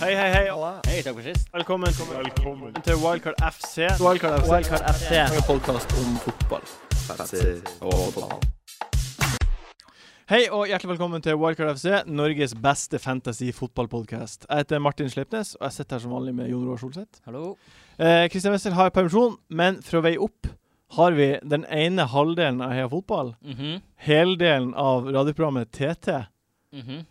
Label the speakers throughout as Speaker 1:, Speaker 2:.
Speaker 1: Hei, hei, hei. Hei, takk for sist. Velkommen, til Wildcard FC. Wildcard FC.
Speaker 2: En podkast om fotball.
Speaker 1: Hei og hjertelig velkommen til Wildcard FC, Norges beste fantasy-fotballpodkast. Jeg heter Martin Sleipnes, og jeg sitter her som vanlig med Jon Roar Solseth.
Speaker 3: Hallo.
Speaker 1: Eh, Kristian Wessel har permisjon, men fra vei opp har vi den ene halvdelen av Heia Fotball,
Speaker 3: Mhm,
Speaker 1: heldelen av radioprogrammet TT.
Speaker 3: mhm.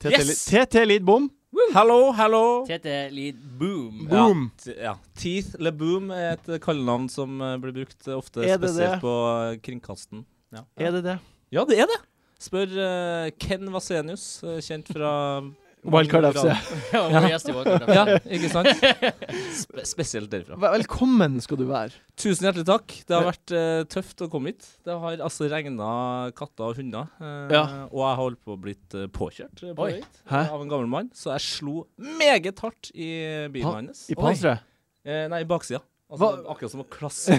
Speaker 1: TT,
Speaker 2: Yes!
Speaker 1: Li- TT Lidbom.
Speaker 2: Hallo, hallo.
Speaker 3: Tete Lid Boom.
Speaker 2: Ja.
Speaker 1: Boom!
Speaker 2: T- Ja. Teeth LeBoom er et kallenavn som eh, blir brukt eh, ofte
Speaker 1: Er det
Speaker 2: spesielt
Speaker 1: det?
Speaker 2: på eh, kringkasten. Ja.
Speaker 1: Er det det?
Speaker 2: ja, det er det! Spør eh, Ken Vasenius, eh, kjent fra
Speaker 1: Wildcard FC.
Speaker 3: Ja. Vår gjest i Wildcard
Speaker 2: Ja,
Speaker 3: FC.
Speaker 2: ikke sant? Spe spesielt derfra.
Speaker 1: Vel- Velkommen skal du være.
Speaker 2: Tusen hjertelig takk. Det har vært eh, tøft å komme hit. Det har altså regna katter og hunder. eh,
Speaker 1: Ja.
Speaker 2: Og jeg har holdt på å blitt eh, påkjørt eh, på
Speaker 3: Oi.
Speaker 2: vei hit, eh,
Speaker 1: Hæ?
Speaker 2: av en gammel mann, så jeg slo meget hardt i bilen
Speaker 1: Ha-
Speaker 2: hans.
Speaker 1: I panseret.
Speaker 2: Eh, nei, i baksida. Altså,
Speaker 1: Hva-
Speaker 2: akkurat som å klaske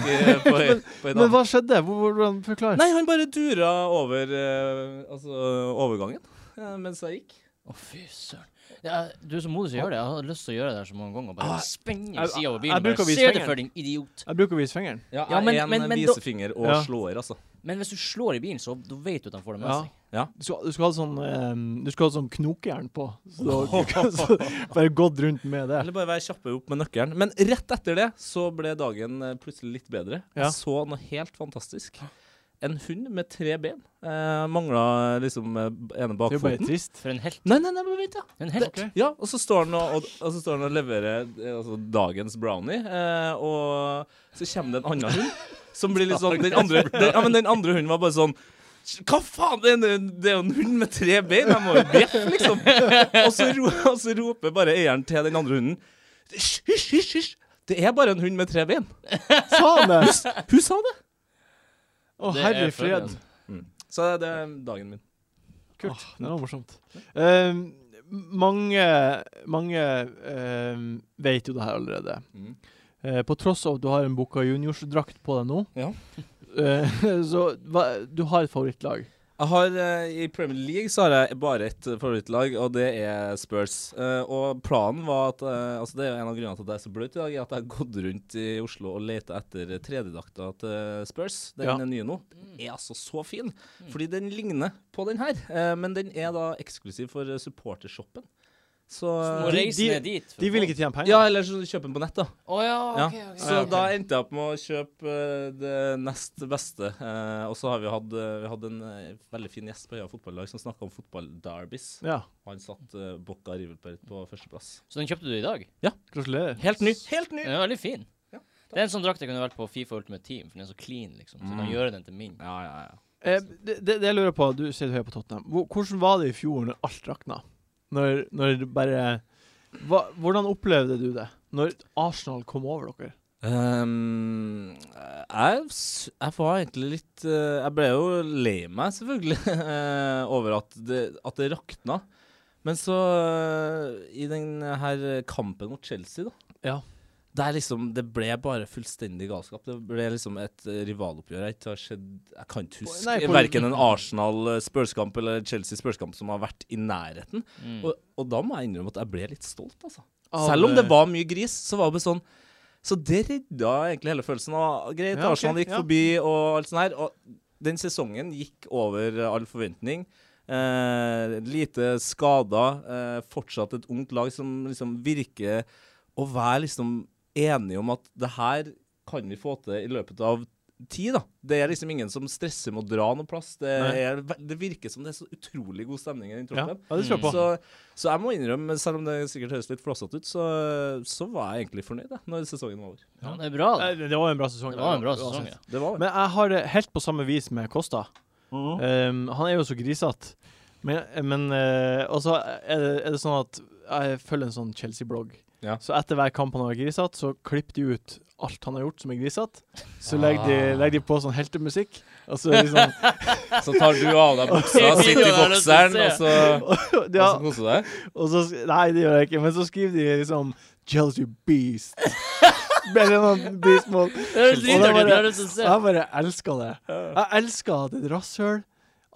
Speaker 2: på, på en
Speaker 1: Men
Speaker 2: annen.
Speaker 1: hva skjedde? Hvor- Hvordan forklar?
Speaker 2: Nei, han bare dura over eh, altså, overgangen eh, mens jeg gikk.
Speaker 3: Å, fy søren. Ja, du er så modig som gjør det. Jeg har lyst til å gjøre det her så mange ganger.
Speaker 1: Ah,
Speaker 3: Bare spenne i
Speaker 1: jeg-
Speaker 3: sida av
Speaker 1: jeg
Speaker 3: bilen.
Speaker 1: bruker å
Speaker 3: Bare
Speaker 1: vise
Speaker 3: se det
Speaker 1: fingeren.
Speaker 3: for din idiot.
Speaker 1: Jeg bruker å vise fingeren.
Speaker 2: Ja,
Speaker 3: Ja,
Speaker 2: jeg
Speaker 3: men-
Speaker 2: er en eh,
Speaker 3: men- men da-
Speaker 2: visefinger og
Speaker 1: Ja.
Speaker 2: slår, altså.
Speaker 3: Men hvis du slår i bilen, så da vet du at de får det med
Speaker 1: Ja.
Speaker 3: seg.
Speaker 1: Du skulle, du skulle hatt sånn ehm, Du skulle hatt sånn knokejern på. Så, da- så bare gått rundt med det.
Speaker 2: Eller bare være kjappe opp med nøkkelen. Men rett etter det så ble dagen eh, plutselig litt bedre.
Speaker 1: Ja.
Speaker 2: Jeg så noe helt fantastisk. En hund med tre ben. Eh, Mangla liksom eh, ene
Speaker 1: Det er jo bare
Speaker 2: bakfoten.
Speaker 1: trist.
Speaker 3: For en helt.
Speaker 2: Nei, nei, nei, bare vent, ja.
Speaker 3: En helt.
Speaker 1: Ok.
Speaker 2: Ja, og så står han og, og, og, så står han og leverer eh, altså, dagens brownie, eh, og så kommer det en annen hund som blir litt sånn den andre, den, ja, men den andre hunden var bare sånn hva faen, det er en, det er jo en hund med tre bein, jeg må jo bjeffe, liksom. Og så, ro, og så roper bare eieren til den andre hunden Hysj, hysj, hysj, hysj. Det er bare en hund med tre bein.
Speaker 1: Sa han det!
Speaker 2: Hun sa det.
Speaker 1: Å,
Speaker 3: Det er
Speaker 1: herre
Speaker 3: fred,
Speaker 1: fred.
Speaker 3: altså.
Speaker 2: Mm. Så det er dagen min.
Speaker 1: Kult. det var morsomt. Ehm, mange mange ehm, vet jo det her allerede.
Speaker 2: Mm.
Speaker 1: Eh, på tross av at du har en Boca Juniors-drakt på deg nå,
Speaker 2: Ja.
Speaker 1: eh, så hva, du har et favorittlag.
Speaker 2: Jeg har, eh, I Premier League så har jeg bare ett eh, favorittlag, og det er Spurs. Eh, og planen var at eh, altså Det er jo en av grunnene til at jeg er så bløt i dag, er at jeg har gått rundt i Oslo og leta etter 3D-drakta til Spurs. Den
Speaker 1: Ja.
Speaker 2: er nye nå. Den er altså så fin, fordi den ligner på den her. Eh, men den er da eksklusiv for eh, supportershoppen. Så
Speaker 3: Du må
Speaker 1: de-
Speaker 3: reise
Speaker 1: de-
Speaker 3: ned dit.
Speaker 1: De vil ikke tjene penger.
Speaker 2: Ja, eller så kjøper den på nett, da.
Speaker 3: Å ja,
Speaker 2: Ja.
Speaker 3: OK. ok.
Speaker 2: Så da endte jeg opp med å kjøpe eh, det nest beste. eh, og så har vi hatt, eh, vi hatt en eh, veldig fin gjest på Høya fotballag som snakka om fotball-derbys.
Speaker 1: Ja,
Speaker 2: Han satt uh, Bocca Riverpert på førsteplass.
Speaker 3: Så den kjøpte du i dag?
Speaker 1: Gratulerer.
Speaker 2: Helt ny! Helt ny!
Speaker 3: Den er veldig fin.
Speaker 2: Ja,
Speaker 3: det er en sånn drakt jeg kunne vært på Fifa Ultimate Team, for den er så clean, liksom. Så kan
Speaker 2: Mm.
Speaker 3: gjøre den til min.
Speaker 2: Ja, ja, ja.
Speaker 1: Eh, det, det, det jeg lurer på, du sier du hører på Tottenham. Hvor, hvordan var det i fjor når alt rakna? Når, når det bare hva, Hvordan opplevde du det? Når Arsenal kom over dere?
Speaker 2: Ehm, jeg, s- jeg var egentlig litt eh, Jeg ble jo lei meg, selvfølgelig, eh, over at det, at det rakna. Men så, eh, i den her kampen mot Chelsea, da
Speaker 1: Ja.
Speaker 2: Der liksom, Det ble bare fullstendig galskap. Det ble liksom et eh, rivaloppgjør jeg ikke har sett Jeg kan ikke huske
Speaker 1: nei, på-
Speaker 2: verken en Arsenal-spørskamp eller Chelsea-spørskamp som har vært i nærheten.
Speaker 3: Mm.
Speaker 2: Og, og da må jeg innrømme at jeg ble litt stolt, altså. Selv om det
Speaker 1: eh,
Speaker 2: var mye gris, så var det sånn Så det redda egentlig hele følelsen. Og greit,
Speaker 1: Ja, ok,
Speaker 2: Arsenal gikk
Speaker 1: ja.
Speaker 2: forbi og alt sånt her. Og den sesongen gikk over eh, all forventning. Eh, lite skada. Eh, fortsatt et ungt lag som liksom virker å være liksom enige om at det her kan vi få til i løpet av tid, da. Det er liksom ingen som stresser med å dra noe plass. Det,
Speaker 1: Nei.
Speaker 2: er, det virker som det er så utrolig god stemning i den
Speaker 1: ja. ja,
Speaker 2: troppen.
Speaker 1: det tror jeg på.
Speaker 2: Så, så jeg må innrømme, selv om det sikkert høres litt flossete ut, så, så var jeg egentlig fornøyd da, når sesongen var over.
Speaker 3: Ja, det er bra,
Speaker 1: Eh,
Speaker 3: det.
Speaker 1: Det det var en bra sesong.
Speaker 3: Det
Speaker 1: da,
Speaker 3: var en bra
Speaker 1: uansett.
Speaker 3: sesong, ja.
Speaker 2: Det var det.
Speaker 1: Men jeg har det helt på samme vis med Kosta. Um, han er jo så grisete. Men, men eh, Og så er, det- er det sånn at jeg følger en sånn Chelsea-blogg.
Speaker 2: Ja.
Speaker 1: Så etter hver kamp han har vært grisete, så klipper de ut alt han har gjort som er grisete.
Speaker 2: Ah.
Speaker 1: Så legger de, legger de på sånn heltemusikk. Og så liksom
Speaker 2: Så tar du av deg buksa,
Speaker 3: Det
Speaker 2: sitter i
Speaker 3: videoen er nødt til å
Speaker 2: bokseren, og så, og så
Speaker 1: ja,
Speaker 2: koser du deg.
Speaker 1: og så sk- Nei, det gjør jeg ikke, men så skriver de liksom Chelsea Beast. Eller noe beast mode.
Speaker 3: Det
Speaker 1: Og
Speaker 3: høres
Speaker 1: da
Speaker 3: dritart ut.
Speaker 1: bare-
Speaker 3: Det høres ut som
Speaker 1: Jeg bare elsker det. Jeg elsker at det er et rasshøl.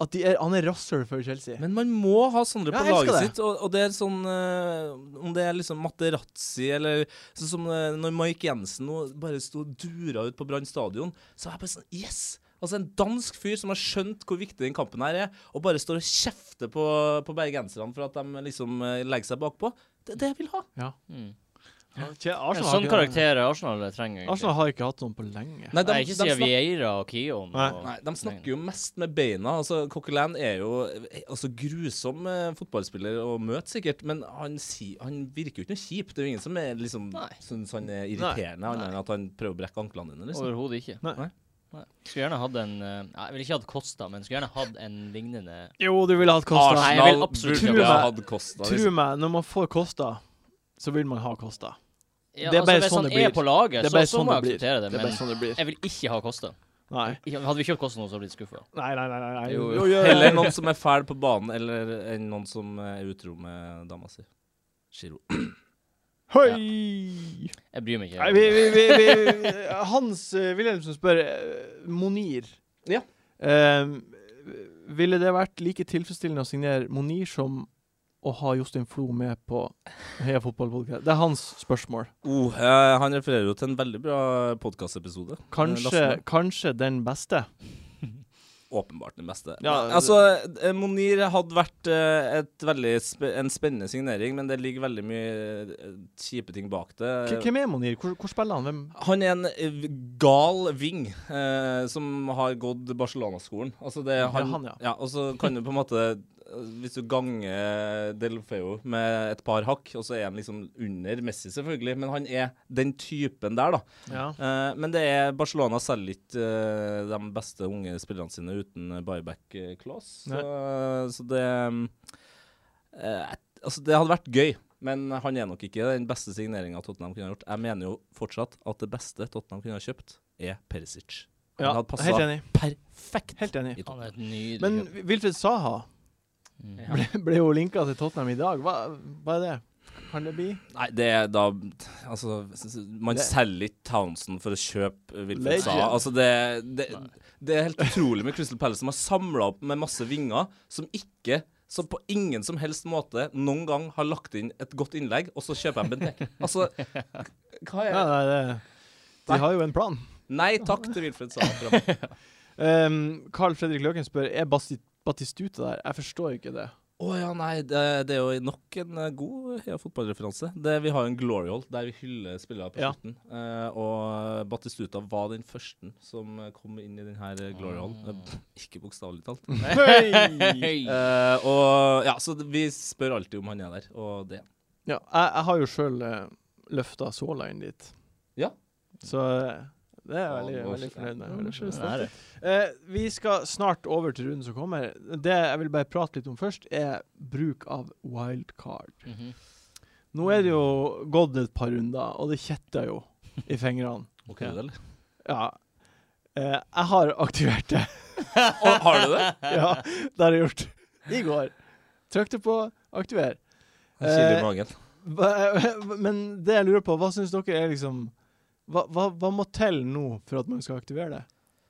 Speaker 1: At de er, han er rasshøl for Chelsea.
Speaker 2: Men man må ha Sondre
Speaker 1: Ja,
Speaker 2: på
Speaker 1: jeg elsker
Speaker 2: laget
Speaker 1: det.
Speaker 2: sitt, og, og det er sånn eh, Om det er liksom Materazzi eller Sånn som eh, når Mike Jensen nå bare sto og dura ut på Brann stadion, så er jeg bare sånn Yes! Altså en dansk fyr som har skjønt hvor viktig den kampen her er, og bare står og kjefter på, på bergenserne for at de liksom eh, legger seg bakpå. Det er det jeg vil ha.
Speaker 3: Mm.
Speaker 1: Ja, Kje-
Speaker 3: En
Speaker 1: Arsenal, har
Speaker 3: sånn
Speaker 1: ikke-
Speaker 3: karakter Arsenal trenger egentlig.
Speaker 1: Arsenal Altså, har ikke hatt noen på lenge.
Speaker 2: Nei,
Speaker 3: Nei, ikke siden Vieira og Kion.
Speaker 1: Nei.
Speaker 3: og-
Speaker 2: Nei, De snakker jo mest med beina. altså Coquelin er jo eh, altså, grusom eh, fotballspiller å møte, sikkert. Men han, si, han virker jo ikke noe kjip. Det er jo ingen som er, liksom,
Speaker 3: Nei.
Speaker 2: syns han er irriterende, annet enn at han prøver å brekke anklene dine. liksom.
Speaker 3: Overhodet ikke.
Speaker 1: Nei.
Speaker 2: Nei.
Speaker 3: Nei. Skulle gjerne hatt en eh, Nei, Jeg ville ikke hatt Kosta, men skulle gjerne hatt en lignende
Speaker 1: Jo, du ville hatt Costa.
Speaker 3: Arsenal. jeg vil absolutt
Speaker 1: ikke
Speaker 2: burde
Speaker 1: ha-
Speaker 2: ha hatt Costa.
Speaker 1: Tro
Speaker 2: Liksom.
Speaker 1: meg, når man får Costa, så vil man ha Costa.
Speaker 3: ja,
Speaker 1: Det er bare
Speaker 3: altså, Hvis
Speaker 1: sånn
Speaker 3: han
Speaker 1: det blir.
Speaker 3: er på laget,
Speaker 1: Det er
Speaker 3: så,
Speaker 1: bare
Speaker 3: så
Speaker 1: sånn
Speaker 3: må
Speaker 1: det
Speaker 3: jeg
Speaker 1: blir.
Speaker 3: akseptere det.
Speaker 1: Det er
Speaker 3: Men
Speaker 1: bare sånn det blir.
Speaker 3: jeg vil ikke ha Kosta.
Speaker 1: Nei,
Speaker 3: Ikke- Hadde vi kjøpt Kosta nå, så hadde jeg blitt skuffa.
Speaker 1: nei, nei. nei, nei, nei.
Speaker 3: Jo, jo.
Speaker 1: Jo, jo, jo.
Speaker 2: Heller noen som er fæl på banen, eller enn noen som er utro med dama si. Giro.
Speaker 1: Hei!
Speaker 3: Jeg bryr meg ikke.
Speaker 1: Nei, vi, vi, vi, vi Hans eh, Wilhelmsen spør eh, Monir.
Speaker 2: Ja.
Speaker 1: Eh, ville det vært like tilfredsstillende å signere Monir som å ha Jostein Flo med på Heia fotballpodkast? Det er hans spørsmål.
Speaker 2: Oh, eh, han refererer jo til en veldig bra podkastepisode.
Speaker 1: Kanskje, kanskje den beste.
Speaker 2: åpenbart den beste.
Speaker 1: Ja, det-
Speaker 2: altså, eh, Monir hadde vært eh, et veldig spe en spennende signering, men det ligger veldig mye eh, kjipe ting bak det.
Speaker 1: K hvem er Monir? Hvor, hvor spiller han? Hvem?
Speaker 2: Han er en eh, gal ving eh, som har gått Barcelona-skolen. Altså det er han,
Speaker 1: Ja, han, ja.
Speaker 2: og så kan du på en måte eh, Hvis du ganger Delfeo med et par hakk, og så er han liksom under Messi, selvfølgelig, men han er den typen der, da.
Speaker 1: Ja.
Speaker 2: Eh, men det er Barcelona selger ikke eh, de beste unge spillerne sine uten buyback-clause. Så, så det mm, eh, et- Altså, det hadde vært gøy, men han er nok ikke den beste signeringa Tottenham kunne ha gjort. Jeg mener jo fortsatt at det beste Tottenham kunne ha kjøpt, er Perisic. Han
Speaker 1: ja.
Speaker 2: hadde passa
Speaker 1: Helt enig.
Speaker 2: perfekt.
Speaker 1: Helt enig.
Speaker 2: i
Speaker 3: Han
Speaker 2: Tottenham.
Speaker 3: er et nydelig
Speaker 1: Men
Speaker 3: kjøp.
Speaker 1: Wilfred Saha
Speaker 3: Mm.
Speaker 1: ble, ble jo linka til Tottenham i dag. Hva, hva er det? Kan det bli?
Speaker 2: Nei, det er da Altså, s- s- man
Speaker 1: Det-
Speaker 2: selger ikke Townsend for å kjøpe Wilfred Saha.
Speaker 1: Legend.
Speaker 2: Altså, det, det, det er helt utrolig med Crystal Palace, som har samla opp med masse vinger som ikke som på ingen som helst måte noen gang har lagt inn et godt innlegg, og så kjøper jeg Benteke. Altså, hva
Speaker 1: Ja,
Speaker 2: er
Speaker 1: nei, det, de har jo en plan.
Speaker 2: Nei takk til Wilfred Saha. fremover.
Speaker 1: Um, Carl Fredrik Løken spør Er Basti Batistuta der. Jeg forstår ikke det.
Speaker 2: Å ja, nei, det, det er jo nok en eh, god ja, fotballreferanse. Det, vi har jo en glory hall der vi hyller spillere på
Speaker 1: Ja.
Speaker 2: slutten. Eh, og Batistuta var den første som eh, kom inn i denne glory hallen. Eh, Ikke bokstavelig talt.
Speaker 1: Hei!
Speaker 3: Hei.
Speaker 2: Eh, og ja, så vi spør alltid om han er der, og det.
Speaker 1: Ja, jeg, jeg har jo sjøl uh, løfta såla inn dit.
Speaker 2: Ja.
Speaker 1: Så eh, det er jeg veldig,
Speaker 2: Ja, nå-
Speaker 1: veldig fornøyd med.
Speaker 2: ja,
Speaker 1: Veldig
Speaker 3: Den
Speaker 1: fornøyd med.
Speaker 3: er det.
Speaker 1: Eh, vi skal snart over til runden som kommer. Det jeg vil bare prate litt om først, er bruk av wildcard.
Speaker 3: Mhm.
Speaker 1: Nå er det jo gått et par runder, og det kjetter jo i fingrene.
Speaker 2: Ok, det, eller?
Speaker 1: Ja. Eh, jeg har aktivert det.
Speaker 2: Å, har du det?
Speaker 1: Ja, det har jeg gjort. I går. Trykte på 'aktiver'.
Speaker 2: Kile
Speaker 1: Eh,
Speaker 2: i magen.
Speaker 1: Hva- eh, Men det jeg lurer på, hva syns dere er liksom hva, hva, hva må til nå for at man skal aktivere det?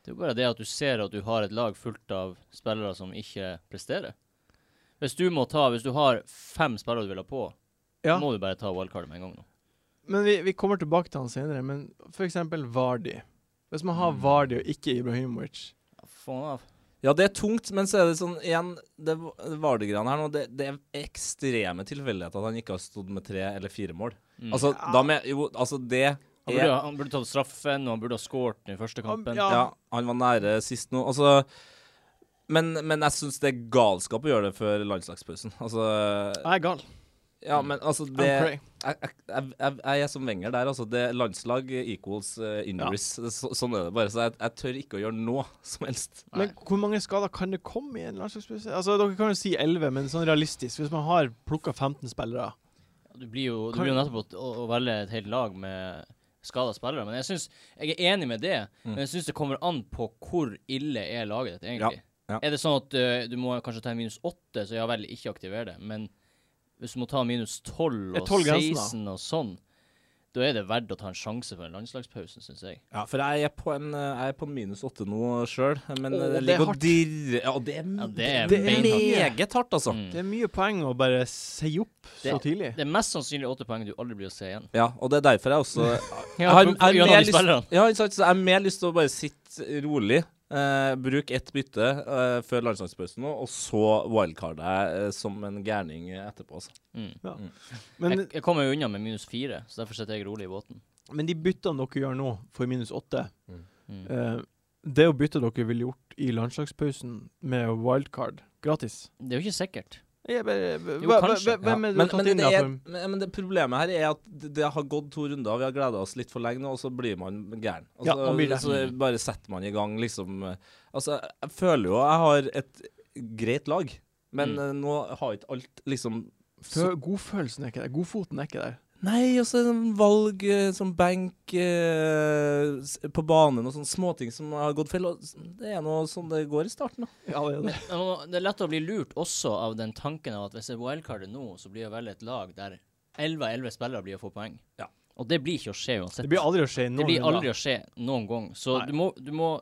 Speaker 3: Det er jo bare det at du ser at du har et lag fullt av spillere som ikke presterer. Hvis du må ta, hvis du har fem spillere du vil ha på,
Speaker 1: Ja,
Speaker 3: må du bare ta wildcardet med en gang nå.
Speaker 1: men vi, vi kommer tilbake til han senere. Men f.eks. Vardi. Hvis man har Vardi og ikke Ibrahimovic
Speaker 3: Ja, faen av.
Speaker 2: Ja, det er tungt, men så er det sånn igjen Det Vardø-greiene her nå, det, det er ekstreme tilfeldigheter at han ikke har stått med tre eller fire mål.
Speaker 3: Mm.
Speaker 2: Altså, da med Jo, altså, det
Speaker 3: han, burde, han burde tatt straffen, og han burde ha skåret den i første kampen.
Speaker 1: Ja.
Speaker 2: Ja, han var nære sist nå. Altså men, men jeg syns det er galskap å gjøre det før landslagspausen. Altså
Speaker 1: Jeg er gal.
Speaker 2: Ja, men altså
Speaker 1: I'm
Speaker 2: det Jeg,
Speaker 1: cray.
Speaker 2: jeg, jeg, jeg er som Wenger der, altså. Det landslag equals eh, injuries. Så, sånn er det bare. Så jeg, jeg tør ikke å gjøre noe som helst.
Speaker 1: Men hvor mange skader kan det komme i en landslagspause? Altså, dere kan jo si 11, men sånn realistisk, hvis man har plukka 15 spillere
Speaker 3: Du blir jo, du
Speaker 1: Kan-
Speaker 3: blir jo nettopp å, å velge et helt lag med skada spillere. Men jeg, synes, jeg er enig med det, men jeg syns det kommer an på hvor ille er laget ditt, egentlig.
Speaker 2: Ja, ja.
Speaker 3: Er det sånn at ø, du må kanskje ta en minus åtte, så ja vel, ikke aktiver det. Men hvis du må ta minus tolv
Speaker 1: Er
Speaker 3: og
Speaker 1: tolv grensen, da?
Speaker 3: 16 og sånn Da er det verdt å ta en sjanse for en landslagspause, syns jeg.
Speaker 2: Ja, for jeg er på en, eh, jeg er på en minus åtte nå sjøl, men
Speaker 1: Åh,
Speaker 2: eh,
Speaker 1: det
Speaker 2: det
Speaker 1: er
Speaker 2: ligger
Speaker 1: hardt.
Speaker 2: og dirrer Ja, det er,
Speaker 3: Ja, det er
Speaker 1: beinhardt.
Speaker 2: meget hardt, altså.
Speaker 3: Mm.
Speaker 1: Det er mye poeng å bare si opp så tidlig.
Speaker 3: Det er mest sannsynlig åtte poeng du aldri blir å se igjen.
Speaker 2: Ja, og det er derfor jeg også
Speaker 3: Ja,
Speaker 2: har-
Speaker 3: på- på
Speaker 2: har
Speaker 3: grunn av
Speaker 2: mer
Speaker 3: de
Speaker 2: lyst-
Speaker 3: spillerne.
Speaker 2: Ja, ikke sant? Så jeg har mer lyst til å bare sitte rolig. Eh, bruke ett bytte eh, før landslagspausen, nå, og så wildcarde jeg eh, som en gærning eh, etterpå. Altså.
Speaker 3: Mm.
Speaker 1: Men,
Speaker 3: jeg, jeg kommer jo unna med minus fire, så derfor sitter jeg rolig i båten.
Speaker 1: men de byttene dere gjør nå, for minus åtte
Speaker 3: Mm.
Speaker 1: eh, Det å bytte dere ville gjort i landslagspausen med wildcard gratis
Speaker 3: Det er jo ikke sikkert.
Speaker 1: Jeg bare- hva-
Speaker 3: Jo,
Speaker 1: hva-
Speaker 3: kanskje.
Speaker 1: hva- Hvem er det du
Speaker 2: men,
Speaker 1: har
Speaker 2: men,
Speaker 1: tatt
Speaker 2: det
Speaker 1: inn da?
Speaker 2: er,
Speaker 1: for-
Speaker 2: men, men det problemet her er at det, det har gått to runder, vi har gleda oss litt for lenge nå, og så blir man gæren. Altså,
Speaker 1: Ja, man blir det.
Speaker 2: Så bare setter man i gang, liksom. eh, Altså, jeg- jeg føler jo jeg har et greit lag, men
Speaker 3: Mm.
Speaker 2: eh, nå har ikke alt liksom så-
Speaker 1: Fø- Godfølelsen er ikke der. Godfoten er ikke der.
Speaker 2: Nei, og så er det sånn valg eh, som benk eh, s- på banen og sånne småting som har gått feil. og s- Det er nå sånn det går i starten, da.
Speaker 1: Ja, det er
Speaker 3: Men
Speaker 1: det.
Speaker 3: man må- det er lett å bli lurt også av den tanken av at hvis jeg wildcarder nå, så blir jeg vel et lag der 11-11 spillere blir å få poeng.
Speaker 2: Ja.
Speaker 3: Og det blir ikke å skje uansett.
Speaker 1: Det blir aldri å skje noen
Speaker 3: Det blir
Speaker 1: runder.
Speaker 3: aldri å skje noen gang. Så
Speaker 1: Nei.
Speaker 3: du må, du må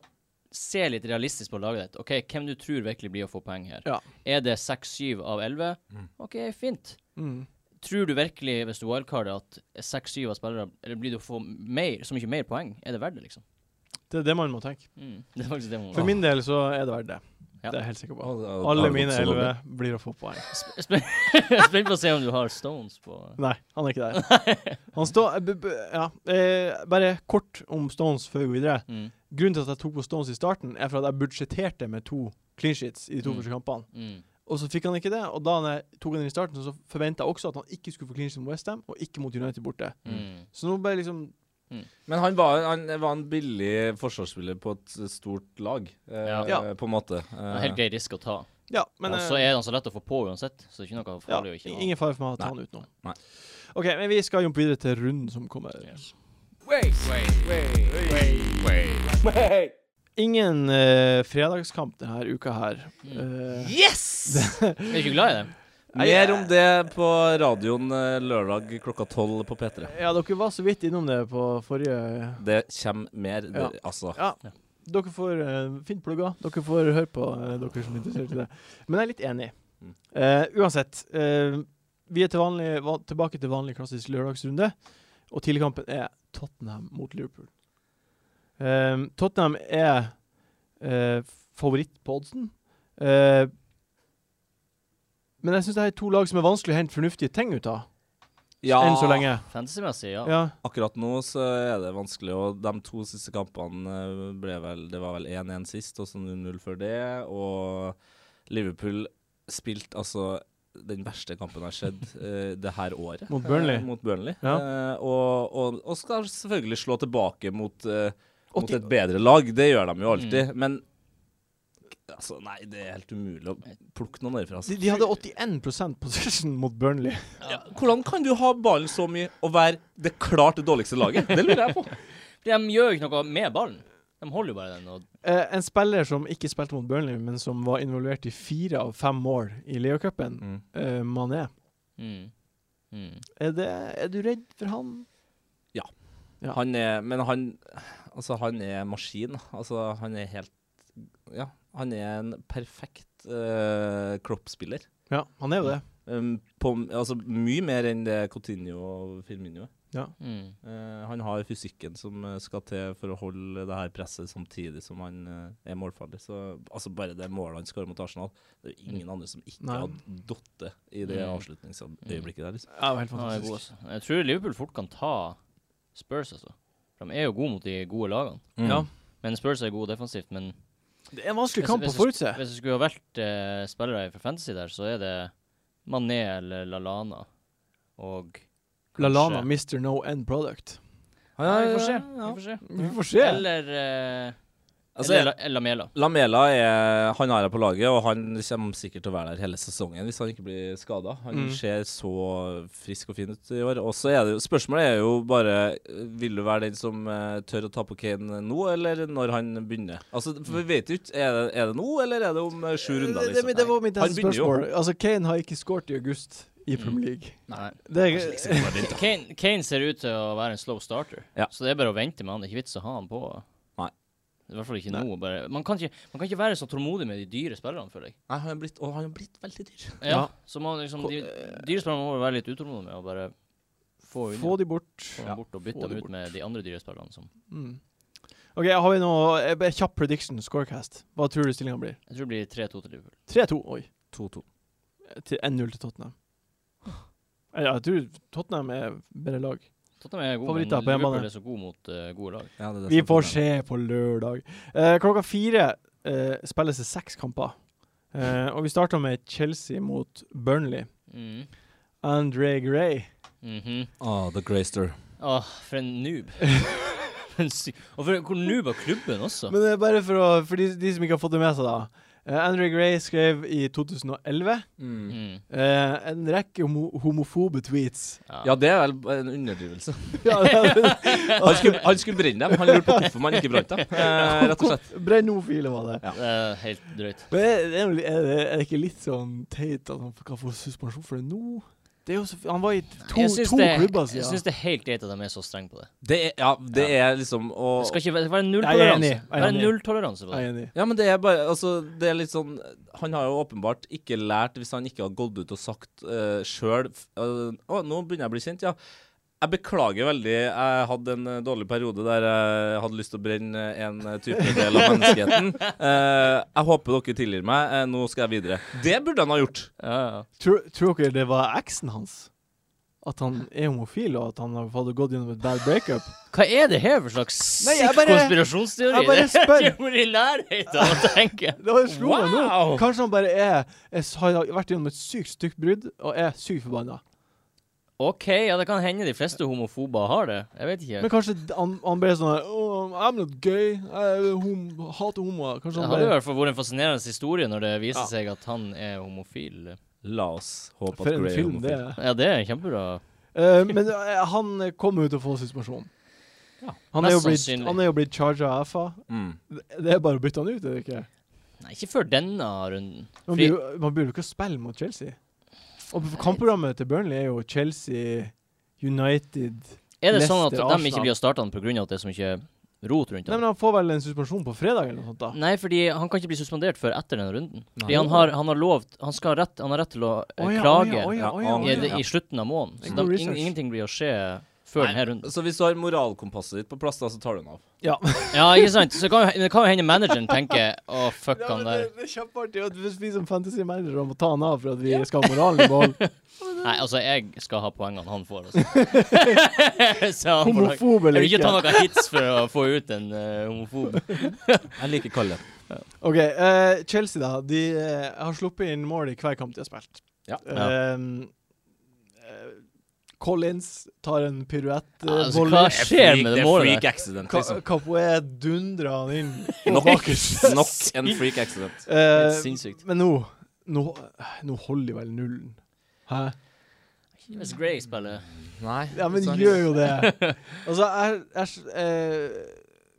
Speaker 3: se litt realistisk på laget ditt. Ok, Hvem du tror virkelig blir å få poeng her.
Speaker 1: Ja.
Speaker 3: Er det 6-7 av 11? OK, fint.
Speaker 1: Mm.
Speaker 3: Tror du virkelig, hvis du wildcarder, at 6-7 av spillere Eller blir du å få mer, så mye mer poeng? Er det verdt det, liksom?
Speaker 1: Det er det man må tenke.
Speaker 3: Mm. Det er faktisk det man
Speaker 1: For min del så er det verdt det.
Speaker 3: Ja.
Speaker 1: Det er jeg helt sikker på.
Speaker 2: Og- og-
Speaker 1: Alle
Speaker 2: og-
Speaker 1: mine
Speaker 2: så-
Speaker 1: elleve blir å få poeng.
Speaker 3: Sp- sp- Spent på å se om du har Stones på
Speaker 1: Nei, han er ikke der. Han står b- b- Ja. Eh, bare kort om Stones før vi går videre.
Speaker 3: mm.
Speaker 1: Grunnen til at jeg tok på Stones i starten, er for at jeg budsjetterte med to clean sheets i de to
Speaker 3: Mm.
Speaker 1: første kampene.
Speaker 3: Mm.
Speaker 1: Og så fikk han ikke det, og da han eh, tok han den i starten, så forventa jeg også at han ikke skulle få clean sheet mot Westham, og ikke mot United borte.
Speaker 3: Mm.
Speaker 1: Så nå bare liksom
Speaker 2: Men han var, han var en billig forsvarsspiller på et stort lag, eh,
Speaker 3: Ja.
Speaker 1: Ja.
Speaker 2: på en måte.
Speaker 3: Det
Speaker 2: Eh,
Speaker 3: er helt grei risk å ta.
Speaker 1: Ja, men
Speaker 3: og så
Speaker 1: eh,
Speaker 3: er han så lett å få på uansett, så det er ikke noe
Speaker 1: ja,
Speaker 3: farlig å ikke ha.
Speaker 1: Ingen fare for meg å ta
Speaker 2: Nei.
Speaker 1: han ut nå.
Speaker 2: Nei.
Speaker 1: OK, men vi skal jumpe videre til runden som kommer.
Speaker 3: Yes.
Speaker 1: Ingen eh, fredagskamp denne uka her.
Speaker 3: Mm.
Speaker 1: Eh,
Speaker 2: Yes!
Speaker 3: Er du ikke glad i det?
Speaker 2: Mer om det på radioen eh, lørdag klokka tolv på P3.
Speaker 1: Ja, dere var så vidt innom det på forrige
Speaker 2: Det kommer mer, det-
Speaker 1: Ja.
Speaker 2: altså.
Speaker 1: Ja. Dere får eh, fint plugga. Dere får høre på, eh, dere som er interessert i det. Men jeg er litt enig.
Speaker 2: Mm.
Speaker 1: Eh, uansett. eh, vi er til vanlig, va tilbake til vanlig klassisk lørdagsrunde, og tidligkampen er Tottenham mot Liverpool. Eh, Tottenham er eh, favoritt på oddsen. Eh, men jeg syns det her er to lag som er vanskelig å hente fornuftige ting ut av, enn så lenge.
Speaker 3: Fantasymessig, ja.
Speaker 1: Ja.
Speaker 2: Akkurat nå så er det vanskelig, og de to siste kampene eh, ble vel Det var vel 1-1 sist, og så 0-0 før det. Og Liverpool spilte altså den verste kampen jeg har sett eh, det her året.
Speaker 1: Mot Burnley.
Speaker 2: Eh, mot Burnley.
Speaker 1: Ja.
Speaker 2: Eh, og, og, og skal selvfølgelig slå tilbake mot, eh, mot et bedre lag. Det gjør de jo alltid. Men altså, nei, det er helt umulig å plukke noen derfra.
Speaker 1: De,
Speaker 2: Altså.
Speaker 1: de hadde 81 possession mot Burnley.
Speaker 2: Ja, hvordan kan du ha ballen så mye og være det klart dårligste laget? Det lurer jeg på.
Speaker 3: De gjør jo ikke noe med ballen. De holder jo bare den. Og,
Speaker 1: Eh, en spiller som ikke spilte mot Burnley, men som var involvert i fire av fem mål i Leo-cupen, eh, Mané.
Speaker 3: mm. Mm.
Speaker 1: Er, det, er du redd for han? Ja.
Speaker 2: Han er, men han Altså, han er maskin. Altså, han er helt Ja, han er en perfekt uh, kroppsspiller.
Speaker 1: Ja, han er jo det.
Speaker 2: Um, på, altså, mye mer enn det Coutinho og Firmino er.
Speaker 3: Mm.
Speaker 2: Eh, han har fysikken som eh, skal til for å holde det her presset samtidig som han eh, er målfarlig. Så, altså bare det målet han skårer mot Arsenal Det er jo ingen andre som ikke
Speaker 1: Nei.
Speaker 2: hadde datt det i det
Speaker 3: Mm.
Speaker 2: avslutningsøyeblikket der. Liksom.
Speaker 1: Ja, det var helt
Speaker 3: Han er god,
Speaker 1: fantastisk.
Speaker 3: altså. Jeg tror Liverpool fort kan ta Spurs, altså. For De er jo gode mot de gode lagene.
Speaker 2: Mm.
Speaker 1: Ja.
Speaker 3: Men Spurs er gode defensivt. Men
Speaker 1: Det er en vanskelig
Speaker 3: Hvis-
Speaker 1: kamp å
Speaker 3: hvis-
Speaker 1: forutse.
Speaker 3: hvis du skulle ha valgt eh, spillere fra Fantasy der, så er det Mané eller Lalana. Og kanskje-
Speaker 1: Lalana, Mr. No End Product.
Speaker 3: Ja, vi får se.
Speaker 2: ja.
Speaker 3: Vi får se.
Speaker 1: Vi får se.
Speaker 3: Eller, eh,
Speaker 2: Altså,
Speaker 3: eller, La- eller Lamela.
Speaker 2: Lamela er, han er her på laget, og han kommer sikkert til å være der hele sesongen hvis han ikke blir skada. Han
Speaker 1: Mm.
Speaker 2: ser så frisk og fin ut i år. Og så er det jo, Spørsmålet er jo bare eh, Vil du være den som eh, tør å ta på Kane nå, eller når han begynner? Altså, for Vi vet jo ikke. Er det, er det nå, eller er det om eh, sju runder?
Speaker 1: Det, det,
Speaker 2: Liksom?
Speaker 1: det var mitt
Speaker 2: Han
Speaker 1: neste
Speaker 2: begynner jo.
Speaker 1: spørsmål. Altså, Kane har ikke skåret i august i Premier League. Altså,
Speaker 3: Nei.
Speaker 1: Det er,
Speaker 2: Kanskje liksom bare litt, da.
Speaker 3: Kane, Kane ser ut til å være en slow starter,
Speaker 2: Ja.
Speaker 3: så det er bare å vente med han. Det er ikke vits å ha han på.
Speaker 2: Nei.
Speaker 3: I hvert fall ikke nå. Bare. Man, kan ikke, man kan ikke være så tålmodig med de dyre spillerne, føler jeg.
Speaker 2: Nei, han er blitt, og han er blitt veldig dyr.
Speaker 3: Ja,
Speaker 1: Ja.
Speaker 3: Så man, liksom, de dyre spillerne må være litt utålmodige med å bare få unna.
Speaker 1: få de bort.
Speaker 3: Få
Speaker 2: Ja,
Speaker 3: dem bort og bytte
Speaker 2: få de
Speaker 3: dem ut med de andre dyre spillerne. Som.
Speaker 1: Mm. OK, har vi noe eh, bare kjapp prediction, scorecast? Hva tror du stillinga blir?
Speaker 3: Jeg tror det blir 3-2 til Liverpool.
Speaker 1: 3-2, oi.
Speaker 2: 2-2.
Speaker 1: Til 1-0 til Tottenham. Eh, Ja, jeg tror Tottenham er bedre lag.
Speaker 3: Tottenham er god, men
Speaker 1: Favoritter på hjemmebane.
Speaker 3: Liverpool er så god mot eh, gode lag.
Speaker 2: Ja, det er det
Speaker 1: Vi
Speaker 2: som er
Speaker 1: får
Speaker 2: problemet.
Speaker 1: se på lørdag. Eh, klokka fire eh, spilles det seks kamper. Eh, og vi starter med Chelsea mot Burnley.
Speaker 3: Mm.
Speaker 1: Andre Gray.
Speaker 3: Mhm.
Speaker 2: Ah, The Greyster.
Speaker 3: Åh, for en noob. For en sy- og for hvor noob av klubben også.
Speaker 1: Men det er bare for, å, for de, de som ikke har fått det med seg, da. Eh, Andre Gray skrev i 2011
Speaker 3: Mm.
Speaker 1: eh, en rekke homo homofobe tweets.
Speaker 2: Ja, det er vel en underdrivelse.
Speaker 1: Ja, det er-
Speaker 2: Han skulle, han skulle brenne dem. Han lurte på hvorfor man ikke brant dem, eh, rett og slett.
Speaker 1: Brennofile var det.
Speaker 3: Det er helt drøyt.
Speaker 1: Men er, det- er, det- er, det, er det ikke litt sånn teit at han kan få suspensjon for det nå? Det er jo så, han var i to,
Speaker 3: Jeg syns
Speaker 1: to
Speaker 3: det,
Speaker 1: klubber altså,
Speaker 3: jeg
Speaker 1: siden.
Speaker 3: syns det er helt greit at de er så strenge på det.
Speaker 2: Det er, ja, det er liksom å
Speaker 3: Det skal ikke være- det skal være
Speaker 1: Nei, jeg er enig. Jeg
Speaker 3: nulltoleranse.
Speaker 1: er
Speaker 3: Det er
Speaker 1: enig.
Speaker 3: nulltoleranse på
Speaker 1: Jeg
Speaker 3: det.
Speaker 1: er enig.
Speaker 2: Ja, men det er bare Altså, det er litt sånn Han har jo åpenbart ikke lært, hvis han ikke hadde gått ut og sagt uh, sjøl Å, nå begynner jeg å bli kjent, ja. Jeg beklager veldig. Jeg hadde en eh, dårlig periode der jeg hadde lyst til å brenne en eh, type del av menneskeheten. Eh, jeg håper dere tilgir meg. Eh, nå skal jeg videre. Det burde han ha gjort.
Speaker 3: Ja, ja.
Speaker 1: Tror, tror dere det var eksen hans? At han er homofil, og at han har fått gått gjennom et bad breakup?
Speaker 3: Hva er det her for slags
Speaker 1: Nei, jeg
Speaker 3: sick
Speaker 1: bare-
Speaker 3: konspirasjonsteori?
Speaker 1: jeg bare
Speaker 3: Det er
Speaker 1: spør.
Speaker 3: helt i nærheten av å tenke.
Speaker 1: Det var- slo meg nå. Kanskje han bare er, er har vært gjennom et sykt stygt brudd og er sykt forbanna.
Speaker 3: OK, ja, det kan hende de fleste homofober har det. Jeg vet ikke.
Speaker 1: Men kanskje d- han, han bare er sånn her oh, I'm not gay. Jeg er hom hater homoer. Kanskje
Speaker 3: Det
Speaker 1: han
Speaker 3: hadde i
Speaker 1: bare
Speaker 3: hvert fall vært en fascinerende historie når det viser
Speaker 1: Ja.
Speaker 3: seg at han er homofil.
Speaker 2: La oss håpe
Speaker 1: For
Speaker 2: at
Speaker 1: en
Speaker 2: Gray er
Speaker 1: film det
Speaker 2: homofil.
Speaker 1: er.
Speaker 3: Ja, det er kjempebra.
Speaker 1: Eh, men eh, han kommer jo til å få suspensjon.
Speaker 2: Ja.
Speaker 1: Han er jo
Speaker 3: Mest
Speaker 1: blitt,
Speaker 3: sannsynlig.
Speaker 1: han er jo blitt charga av FA.
Speaker 2: Mm.
Speaker 1: Det det er bare å bytte han ut, er det ikke?
Speaker 3: Nei, ikke før denne runden.
Speaker 1: Man
Speaker 3: Fordi-
Speaker 1: blir jo- man burde jo ikke å spille mot Chelsea. Og kampprogrammet til Burnley er jo Chelsea, United
Speaker 3: Er det sånn at
Speaker 1: Leicester,
Speaker 3: de ikke
Speaker 1: Arsenal.
Speaker 3: blir å starte han pga. at det er så mye rot rundt
Speaker 1: Nei,
Speaker 3: han?
Speaker 1: men Han får vel en suspensjon på fredag eller noe sånt? da
Speaker 3: Nei, fordi han kan ikke bli suspendert før etter den runden.
Speaker 2: Nei.
Speaker 3: Fordi han har, han har lovt Han skal ha rett, han har rett til å eh,
Speaker 1: Å ja, å
Speaker 3: klage
Speaker 1: ja, å ja, å ja,
Speaker 2: Ja,
Speaker 1: å
Speaker 3: i,
Speaker 1: ja.
Speaker 2: det-
Speaker 3: i slutten av måneden. Så
Speaker 1: Mm.
Speaker 3: da,
Speaker 1: God
Speaker 3: ing,
Speaker 1: research.
Speaker 3: ingenting blir å skje før
Speaker 2: Nei.
Speaker 3: denne runden.
Speaker 2: Så hvis du har moralkompasset ditt på plass, da, så tar du den av.
Speaker 1: Ja.
Speaker 3: Ja, ikke sant? Så kan, jo- det kan jo hende manageren tenker Å, fuck
Speaker 1: Ja, men
Speaker 3: han der.
Speaker 1: det, det er kjempeartig at hvis vi som fantasy-managere må ta han av for at vi skal ha moralen i behold.
Speaker 3: Nei, altså, jeg skal ha poengene han får, altså. så han får nok-
Speaker 1: Homofob
Speaker 3: jeg
Speaker 1: eller
Speaker 3: vil ikke ta
Speaker 1: ikke.
Speaker 3: noen hits for å få ut en eh, homofob.
Speaker 2: Jeg liker Kalle.
Speaker 1: Ok, eh, Chelsea, da. De eh, har sluppet inn mål i hver kamp de har spilt.
Speaker 2: Ja.
Speaker 1: Ehm, eh, Collins tar en
Speaker 3: Altså,
Speaker 1: piruett-volley.
Speaker 3: hva skjer med det målet
Speaker 2: freak
Speaker 3: der?
Speaker 2: accident,
Speaker 1: Ka
Speaker 2: liksom.
Speaker 1: Kapoe dundrer han inn.
Speaker 2: Nok, nok en freak accident.
Speaker 1: Eh,
Speaker 3: Helt sinnssykt.
Speaker 1: Men nå, nå Nå holder de vel nullen. Hæ?
Speaker 3: Hvis Gray spiller
Speaker 2: Nei.
Speaker 1: Ja, men gjør jo det. Altså, jeg, jeg eh,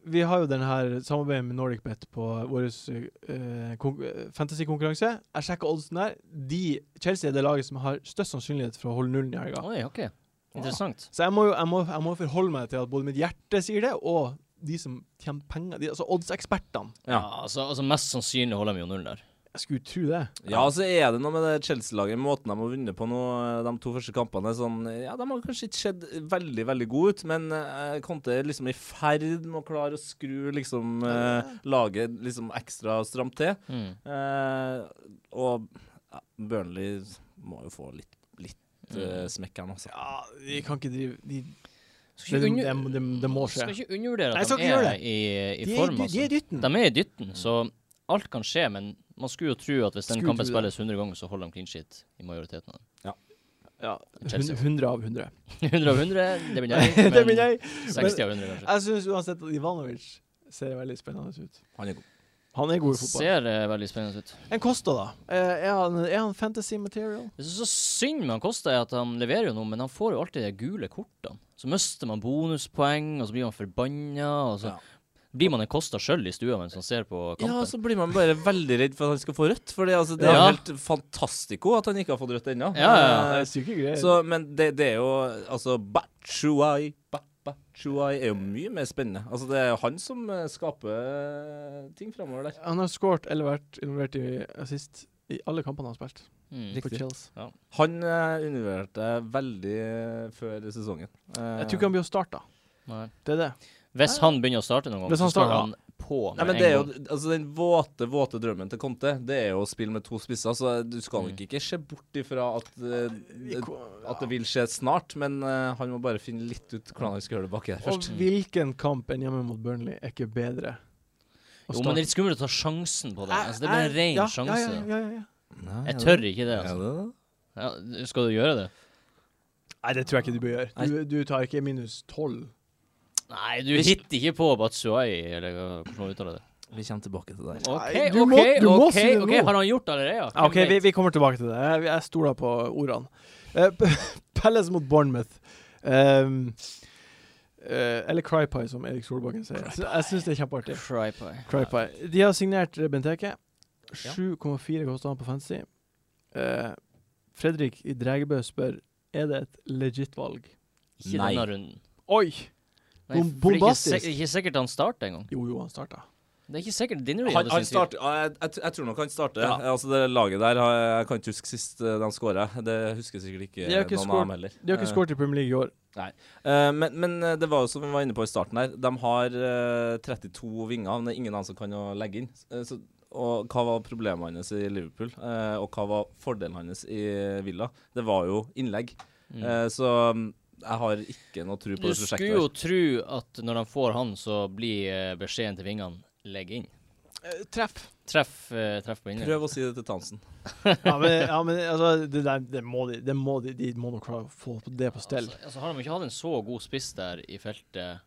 Speaker 1: Vi har jo den her samarbeidet med NordicBet på vår eh, kon- eh, fantasy-konkurranse. Jeg sjekka oddsen der. De, Chelsea er det laget som har størst sannsynlighet for å holde nullen i helga.
Speaker 3: Oi, OK. Interessant.
Speaker 1: Så jeg må jo jeg må, jeg må forholde meg til at både mitt hjerte sier det, og de som tjener penger de, Altså oddsekspertene.
Speaker 2: Ja.
Speaker 3: Ja, altså, altså Mest sannsynlig holder de jo null der.
Speaker 1: Jeg skulle tro det.
Speaker 2: Ja, så er det noe med det Chelsea-laget, måten de har vunnet på nå, eh, de to første kampene. er Sånn, ja, De har kanskje ikke sett veldig veldig gode ut, men eh, Conte er liksom i ferd med å klare å skru liksom, eh, laget liksom ekstra stramt til.
Speaker 3: Mm.
Speaker 2: Eh, og ja, Burnley må jo få litt,
Speaker 3: Mm.
Speaker 2: litt eh, smekk her nå, altså.
Speaker 1: Ja, de kan ikke drive de,
Speaker 3: Skal
Speaker 1: det,
Speaker 3: ikke
Speaker 1: det,
Speaker 3: under-
Speaker 1: det, det må skje.
Speaker 3: Skal ikke undervurdere
Speaker 1: Nei,
Speaker 3: at
Speaker 1: skal
Speaker 3: de
Speaker 1: ikke
Speaker 3: er
Speaker 1: gjøre det.
Speaker 3: i, i
Speaker 1: De er i
Speaker 3: form.
Speaker 1: dy-
Speaker 3: Altså.
Speaker 1: de er i dytten.
Speaker 3: De er i dytten, så alt kan skje. Men man skulle jo tro at hvis den
Speaker 1: Skulle
Speaker 3: kampen
Speaker 1: tro det.
Speaker 3: spilles 100 ganger, så holder de clean shit i majoriteten av dem.
Speaker 1: Ja,
Speaker 3: Chelsea.
Speaker 1: 100 av 100.
Speaker 3: 100 av 100, det blir jeg.
Speaker 1: det
Speaker 3: men
Speaker 1: mener jeg.
Speaker 3: 60 av 100, kanskje.
Speaker 1: Jeg syns uansett at Ivanovic ser veldig spennende ut.
Speaker 2: Han er god.
Speaker 1: Han er god i fotball.
Speaker 3: Ser eh, veldig spennende ut.
Speaker 1: En Costa, da. Eh, Er han, er han fantasy material?
Speaker 3: Det som er så synd med han Kosta, er at han leverer jo noe, men han får jo alltid de gule kortene. Så mister man bonuspoeng, og så blir man forbanna. Og så.
Speaker 2: Ja.
Speaker 3: Blir man en kosta sjøl i stua mens man ser på kampen?
Speaker 2: Altså, Ja, så blir man bare veldig redd for at han skal få rødt. For det, altså, det er
Speaker 3: Ja.
Speaker 2: helt fantastico at han ikke har fått rødt ennå.
Speaker 3: Ja, ja,
Speaker 1: Det
Speaker 2: Eh,
Speaker 1: er syke greier.
Speaker 2: Så, men det, det er jo Altså, Bachuai Ba- Batshuayi er jo mye mer spennende. Altså, det er jo han som eh, skaper eh, ting framover der.
Speaker 1: han har skåret eller vært involvert i assist i alle kampene han har spilt
Speaker 3: Mm.
Speaker 1: for Chelsea.
Speaker 2: Han eh, undervurderte veldig eh, før sesongen. Eh,
Speaker 1: Jeg tror ikke han blir å starte.
Speaker 3: Nei.
Speaker 1: Det er det.
Speaker 3: Hvis han begynner å starte noen gang,
Speaker 1: Hvis
Speaker 3: så
Speaker 1: han
Speaker 3: står
Speaker 1: starter,
Speaker 3: han på med
Speaker 2: Nei, men
Speaker 3: en
Speaker 2: det er jo,
Speaker 3: gang.
Speaker 2: altså Den våte våte drømmen til Conte Det er jo å spille med to spisser, så du skal
Speaker 3: Mm.
Speaker 2: nok ikke se bort ifra at, eh,
Speaker 1: Vi ko-
Speaker 2: at det vil skje snart. Men eh, han må bare finne litt ut hvordan han skal gjøre det baki der
Speaker 1: Og
Speaker 2: først.
Speaker 1: hvilken kamp enn hjemme mot Burnley er ikke bedre? å
Speaker 3: Jo, men
Speaker 1: starte?
Speaker 3: det er litt skummelt å ta sjansen på det. Altså, det
Speaker 1: Jeg-
Speaker 3: blir en altså. ren
Speaker 1: ja,
Speaker 3: sjanse.
Speaker 1: Ja, ja, ja, ja, ja.
Speaker 2: Nei,
Speaker 3: Jeg
Speaker 2: ja,
Speaker 3: tør ikke det,
Speaker 2: ja,
Speaker 3: altså.
Speaker 2: det-
Speaker 3: Ja, skal du gjøre det?
Speaker 1: Nei, det tror jeg ikke du bør gjøre. Du, du tar ikke minus tolv.
Speaker 3: Nei, du hitter ikke på Batsuai, eller hva- hvordan man uttaler det.
Speaker 2: Vi kommer tilbake til det.
Speaker 3: OK,
Speaker 1: Nei, du
Speaker 3: OK,
Speaker 1: må- du må
Speaker 3: OK.
Speaker 1: si det
Speaker 3: ok,
Speaker 1: nå.
Speaker 3: Har han gjort det allerede? Ja,
Speaker 1: OK, vi, vi kommer tilbake til det. Jeg, jeg stoler på ordene. Eh, Palace mot Bournemouth. Ehm, eh, eller Crypie, som Erik Solbakken sier. Så jeg syns det er kjempeartig.
Speaker 3: Cry pie.
Speaker 1: Crypie. De har signert Benteke. 7,4 koster han på fancy. Eh, Fredrik i Dregebø spør Er det et legit valg.
Speaker 3: Ikke
Speaker 2: Nei.
Speaker 3: denne runden.
Speaker 1: Oi! Bom-
Speaker 3: Nei, for det er ikke
Speaker 1: bombastisk.
Speaker 3: sik- Det er ikke sikkert han starter engang.
Speaker 1: Jo, jo, han starta.
Speaker 3: Det er ikke sikkert Dinnery
Speaker 2: Han,
Speaker 3: hadde
Speaker 2: han
Speaker 3: sin tur.
Speaker 2: starter, ja, jeg, jeg, jeg tror nok han starter.
Speaker 1: Ja.
Speaker 2: Altså Det laget der har- Jeg kan ikke huske sist eh, de skåra. Det husker sikkert ikke,
Speaker 1: De har ikke
Speaker 2: noen
Speaker 1: skårt-
Speaker 2: av dem heller.
Speaker 1: De har ikke
Speaker 2: Eh,
Speaker 1: skåret i Premier League i år.
Speaker 2: eh, men, men eh, det var jo som vi var inne på i starten her. De har eh, 32 vinger, men det er ingen av dem som kan å legge inn. Eh, så, og hva var problemet hans i Liverpool, Eh, og hva var fordelen hans i Villa? Det var jo innlegg.
Speaker 3: Mm.
Speaker 2: Eh, så mm, jeg har ikke noe tro på
Speaker 3: Du
Speaker 2: det prosjektet.
Speaker 3: skulle
Speaker 2: her.
Speaker 3: jo tro at når de får han, så blir eh, beskjeden til vingene legg inn.
Speaker 1: Eh, treff.
Speaker 3: Treff, eh, treff på inne.
Speaker 2: Prøv å si det til Townsend.
Speaker 1: Ja, men, ja, men altså, det, der, det må de det må de, de må nok klare å få det på stell.
Speaker 3: Altså, altså, har de ikke hatt en så god spiss der i feltet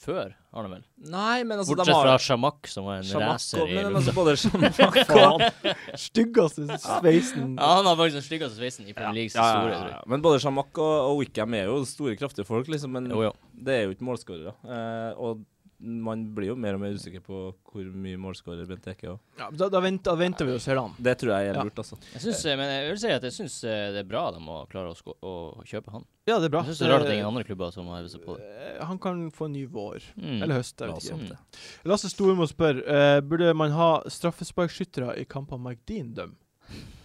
Speaker 3: før, har de vel?
Speaker 2: Nei, men altså
Speaker 3: Bortsett fra Shamak, som var en
Speaker 2: Shamak og-
Speaker 3: racer i
Speaker 2: men- men
Speaker 3: runden.
Speaker 2: altså, både Shamak og
Speaker 1: Faen. altså. Styggeste sveisen.
Speaker 3: Ja, han har faktisk den styggeste sveisen i Premier Leagues historie, tror jeg.
Speaker 2: Men både Shamak og, og Wickham er jo store, kraftige folk, liksom, men
Speaker 3: Jo, jo.
Speaker 1: Mm.
Speaker 2: det er jo ikke målskårere. Eh, og man blir jo mer og mer usikker på hvor mye målskårer Bent Eke er. også.
Speaker 1: Ja, da, da, venter, da venter vi og ser han.
Speaker 2: Det tror jeg er
Speaker 1: Ja.
Speaker 2: lurt, altså.
Speaker 3: Jeg synes, eh, men jeg vil si at jeg syns det er bra de må klare å, sko å kjøpe han.
Speaker 1: Ja, det er bra.
Speaker 3: Jeg syns det er rart at det er ingen andre klubber som har hevet seg på det.
Speaker 1: Eh, Han kan få en ny vår.
Speaker 3: Mm.
Speaker 1: Eh, Eller høst.
Speaker 2: La
Speaker 1: Jeg
Speaker 2: oss
Speaker 1: vet
Speaker 3: Mm.
Speaker 1: ikke.
Speaker 2: håpe det.
Speaker 1: Lasse Stormo spør eh, Burde man ha straffesparkskyttere i kamper McDean dømmer.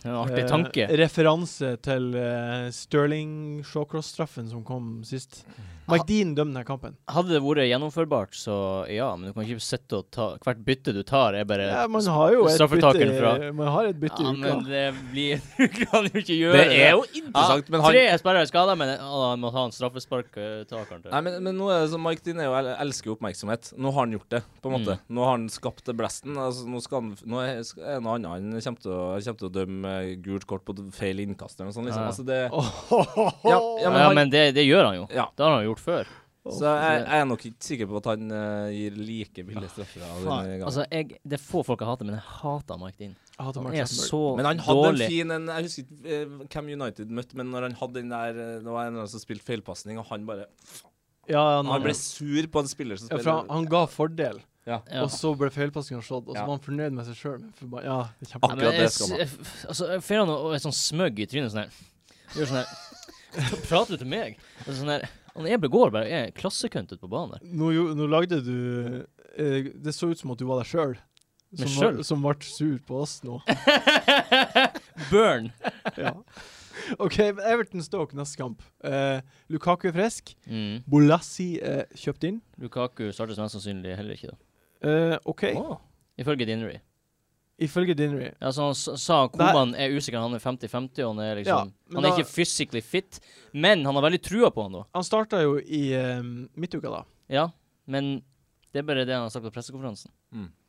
Speaker 3: Det er en artig
Speaker 1: Eh,
Speaker 3: tanke.
Speaker 1: referanse til eh, Sterling Shawcross-straffen som kom sist. McDean dømmer denne kampen.
Speaker 3: Hadde det vært gjennomførbart, så ja, men du kan ikke sitte og ta Hvert bytte du tar, er bare
Speaker 1: Ja, man har jo et
Speaker 3: straffetakeren
Speaker 1: bytte,
Speaker 3: eh, fra-
Speaker 1: man har et bytte i
Speaker 3: Ja,
Speaker 1: uka.
Speaker 3: men det blir Du kan jo ikke gjøre
Speaker 2: Det
Speaker 3: det.
Speaker 2: er jo
Speaker 3: Ja,
Speaker 2: interessant, men han
Speaker 3: Tre spillere er skada, men å, han må ta en straffesparktaker til.
Speaker 2: Nei, men, men nå er det sånn, Mike Dean er jo, el- elsker jo oppmerksomhet. Nå har han gjort det, på en måte.
Speaker 3: Mm.
Speaker 2: Nå har han skapt det blasten. Altså, nå, skal han, nå er er det noe annet han kommer til, å- kommer til å dømme eh, gult kort på feil innkast eller noe sånt. Liksom.
Speaker 3: Ja.
Speaker 2: Altså, det,
Speaker 1: ja,
Speaker 2: ja, ja,
Speaker 3: Ja,
Speaker 2: men han,
Speaker 3: men det, det gjør han jo.
Speaker 2: ja.
Speaker 3: Det har han jo gjort før.
Speaker 2: Så jeg, jeg er nok ikke sikker på at han eh, gir like billige straffer. av denne gangen.
Speaker 3: Altså, jeg, Det er få folk jeg hater, men jeg hater Mike Dean.
Speaker 1: Jeg hater
Speaker 3: Han
Speaker 1: Mark
Speaker 3: er
Speaker 1: Zuckerberg.
Speaker 3: så
Speaker 2: men han hadde
Speaker 3: dårlig.
Speaker 2: en fin en, Jeg husker ikke eh, hvem United møtte, men når han hadde den der eh, Det var en eller annen som spilte feilpasning, og han bare
Speaker 1: ja, han,
Speaker 2: Han ble sur på en spiller som
Speaker 1: ja, for
Speaker 2: spiller
Speaker 1: han, han ga fordel,
Speaker 2: ja.
Speaker 3: Ja.
Speaker 1: og så ble feilpassinga slått, og så
Speaker 2: Ja.
Speaker 1: var han fornøyd med seg sjøl. Ja, det er
Speaker 3: Ja,
Speaker 1: kjempe...
Speaker 3: men jeg
Speaker 2: akkurat det skal man.
Speaker 3: s- f- Altså, jeg får han noe- et sånn smøgg i trynet sånn her. Gjør sånn her. Prater du til meg? Og sånn her. Han er begår bare er klassekønt ute på banen der.
Speaker 1: Nå, jo- nå lagde du eh, Det så ut som at du var deg sjøl.
Speaker 3: Meg
Speaker 1: Som, var-
Speaker 3: selv?
Speaker 1: som ble sur på oss nå.
Speaker 3: Burn!
Speaker 1: ja. OK, Everton Stoke neste kamp. Eh, Lukaku er frisk.
Speaker 3: Mm.
Speaker 1: Bolassi er kjøpt inn.
Speaker 3: Lukaku starter mest sannsynlig heller ikke, da.
Speaker 1: Eh, OK,
Speaker 2: Å,
Speaker 3: Ifølge Dinnery.
Speaker 1: ifølge Dinnery
Speaker 3: Altså, han s- sa Koman er usikker, han er 50-50, og han er liksom
Speaker 1: Ja, men
Speaker 3: Han er
Speaker 1: da-
Speaker 3: ikke physically fit, men han har veldig trua på han, da.
Speaker 1: Han starta jo i eh, midtuka, da.
Speaker 3: Ja, men det er bare det han har sagt på pressekonferansen.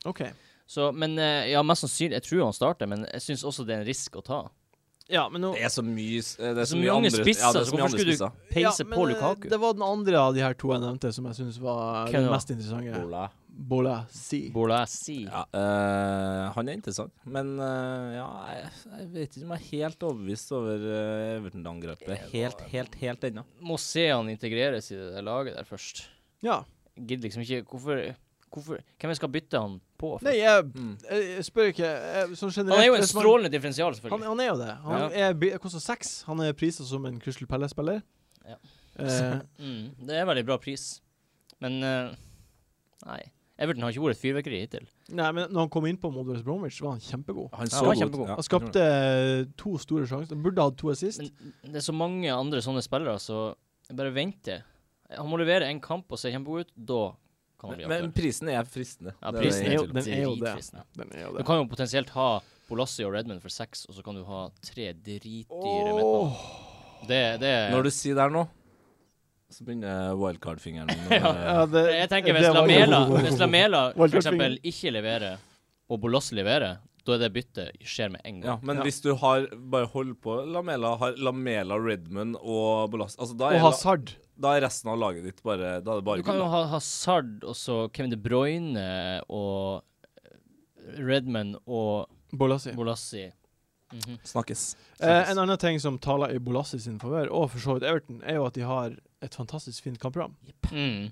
Speaker 1: OK.
Speaker 3: Så, men eh, ja, mest sannsynlig Jeg tror han starter, men jeg syns også det er en risk å ta.
Speaker 1: Ja, men nå
Speaker 2: Det er så mye s- eh, Det er
Speaker 3: Så
Speaker 2: så
Speaker 3: mange
Speaker 2: mye andre
Speaker 3: spisser,
Speaker 2: ja, det er
Speaker 3: så
Speaker 2: så mye
Speaker 3: hvorfor
Speaker 2: andre
Speaker 3: skulle du-
Speaker 2: spisser.
Speaker 3: Peise
Speaker 1: Ja, men,
Speaker 3: på
Speaker 1: eh,
Speaker 3: Lukaku.
Speaker 1: Det var den andre av de her to jeg nevnte som jeg syns var
Speaker 3: Hvem
Speaker 1: den
Speaker 3: da?
Speaker 1: mest interessante.
Speaker 2: Bola.
Speaker 1: Bola Si.
Speaker 3: Bolasi.
Speaker 2: Ja, eh, han er interessant, men eh, ja, jeg, jeg vet ikke om jeg er helt overbevist over eh, Everton-angrepet. Helt, helt, helt ennå.
Speaker 3: Må se han integreres i det der laget der først.
Speaker 1: Ja.
Speaker 3: Gidder liksom ikke Hvorfor Hvorfor, hvem jeg skal bytte han på? for?
Speaker 1: Nei, jeg,
Speaker 2: Mm.
Speaker 1: jeg, jeg spør ikke. Jeg, sånn generelt
Speaker 3: han er jo en
Speaker 1: hvis man-
Speaker 3: strålende differensial,
Speaker 1: Han,
Speaker 3: selvfølgelig.
Speaker 1: han er jo det. Han er bi- koster seks. Han er prisa som en Crystal Palace-spiller.
Speaker 3: Ja.
Speaker 1: Eh,
Speaker 3: Mm, det er veldig bra pris. Men eh, Nei. Everton har ikke vært et fyrverkeri hittil.
Speaker 1: nei, men når han kom inn på mot West Bromwich, var han kjempegod.
Speaker 2: Han
Speaker 3: han
Speaker 2: så
Speaker 3: var
Speaker 2: god
Speaker 3: kjempegod.
Speaker 2: ut. Ja.
Speaker 1: Han skapte eh, to store sjanser. Han Burde hatt to assist.
Speaker 3: Men det er så mange andre sånne spillere, så jeg bare venter. Han må levere en kamp og se kjempegod ut. Da kan han bli
Speaker 2: Men, men
Speaker 3: aktuell.
Speaker 2: prisen er fristende.
Speaker 3: Ja,
Speaker 2: Det
Speaker 3: prisen
Speaker 1: Den
Speaker 2: ingen
Speaker 1: er jo-
Speaker 2: tvil om.
Speaker 1: den er jo det.
Speaker 3: Dritfristende.
Speaker 1: Den er jo
Speaker 3: Du
Speaker 1: det.
Speaker 3: kan jo potensielt ha Bolassi og Redman for seks, og så kan du ha tre dritdyre midtbaner.
Speaker 1: Åh.
Speaker 3: Det, det
Speaker 2: Når du sier der nå, så begynner wildcard-fingeren min. å-
Speaker 1: Ja, det,
Speaker 3: Jeg tenker
Speaker 1: det
Speaker 3: hvis
Speaker 1: var jo-
Speaker 3: Lamela, hvis Lamela for
Speaker 1: Wildcard
Speaker 3: eksempel ikke leverer, og Bolassi leverer, da er det byttet skjer med en gang.
Speaker 2: Ja, men
Speaker 1: Ja.
Speaker 2: hvis du har Bare hold på Lamela, har Lamela, Redmond og Bolas... Altså, da
Speaker 1: Og
Speaker 2: er, la,
Speaker 1: Hazard.
Speaker 2: da er resten av laget ditt bare Da er
Speaker 3: Du
Speaker 2: det bare
Speaker 3: kan
Speaker 2: gull.
Speaker 3: jo ha Hazard og så Kevin De Bruyne og Redman og
Speaker 1: Bolassi.
Speaker 3: Bolassi. Mhm.
Speaker 2: Snakkes.
Speaker 1: Eh, en annen ting som taler i Bolassi sin favør, og for så vidt Everton, er jo at de har et fantastisk fint kampprogram.
Speaker 3: mm.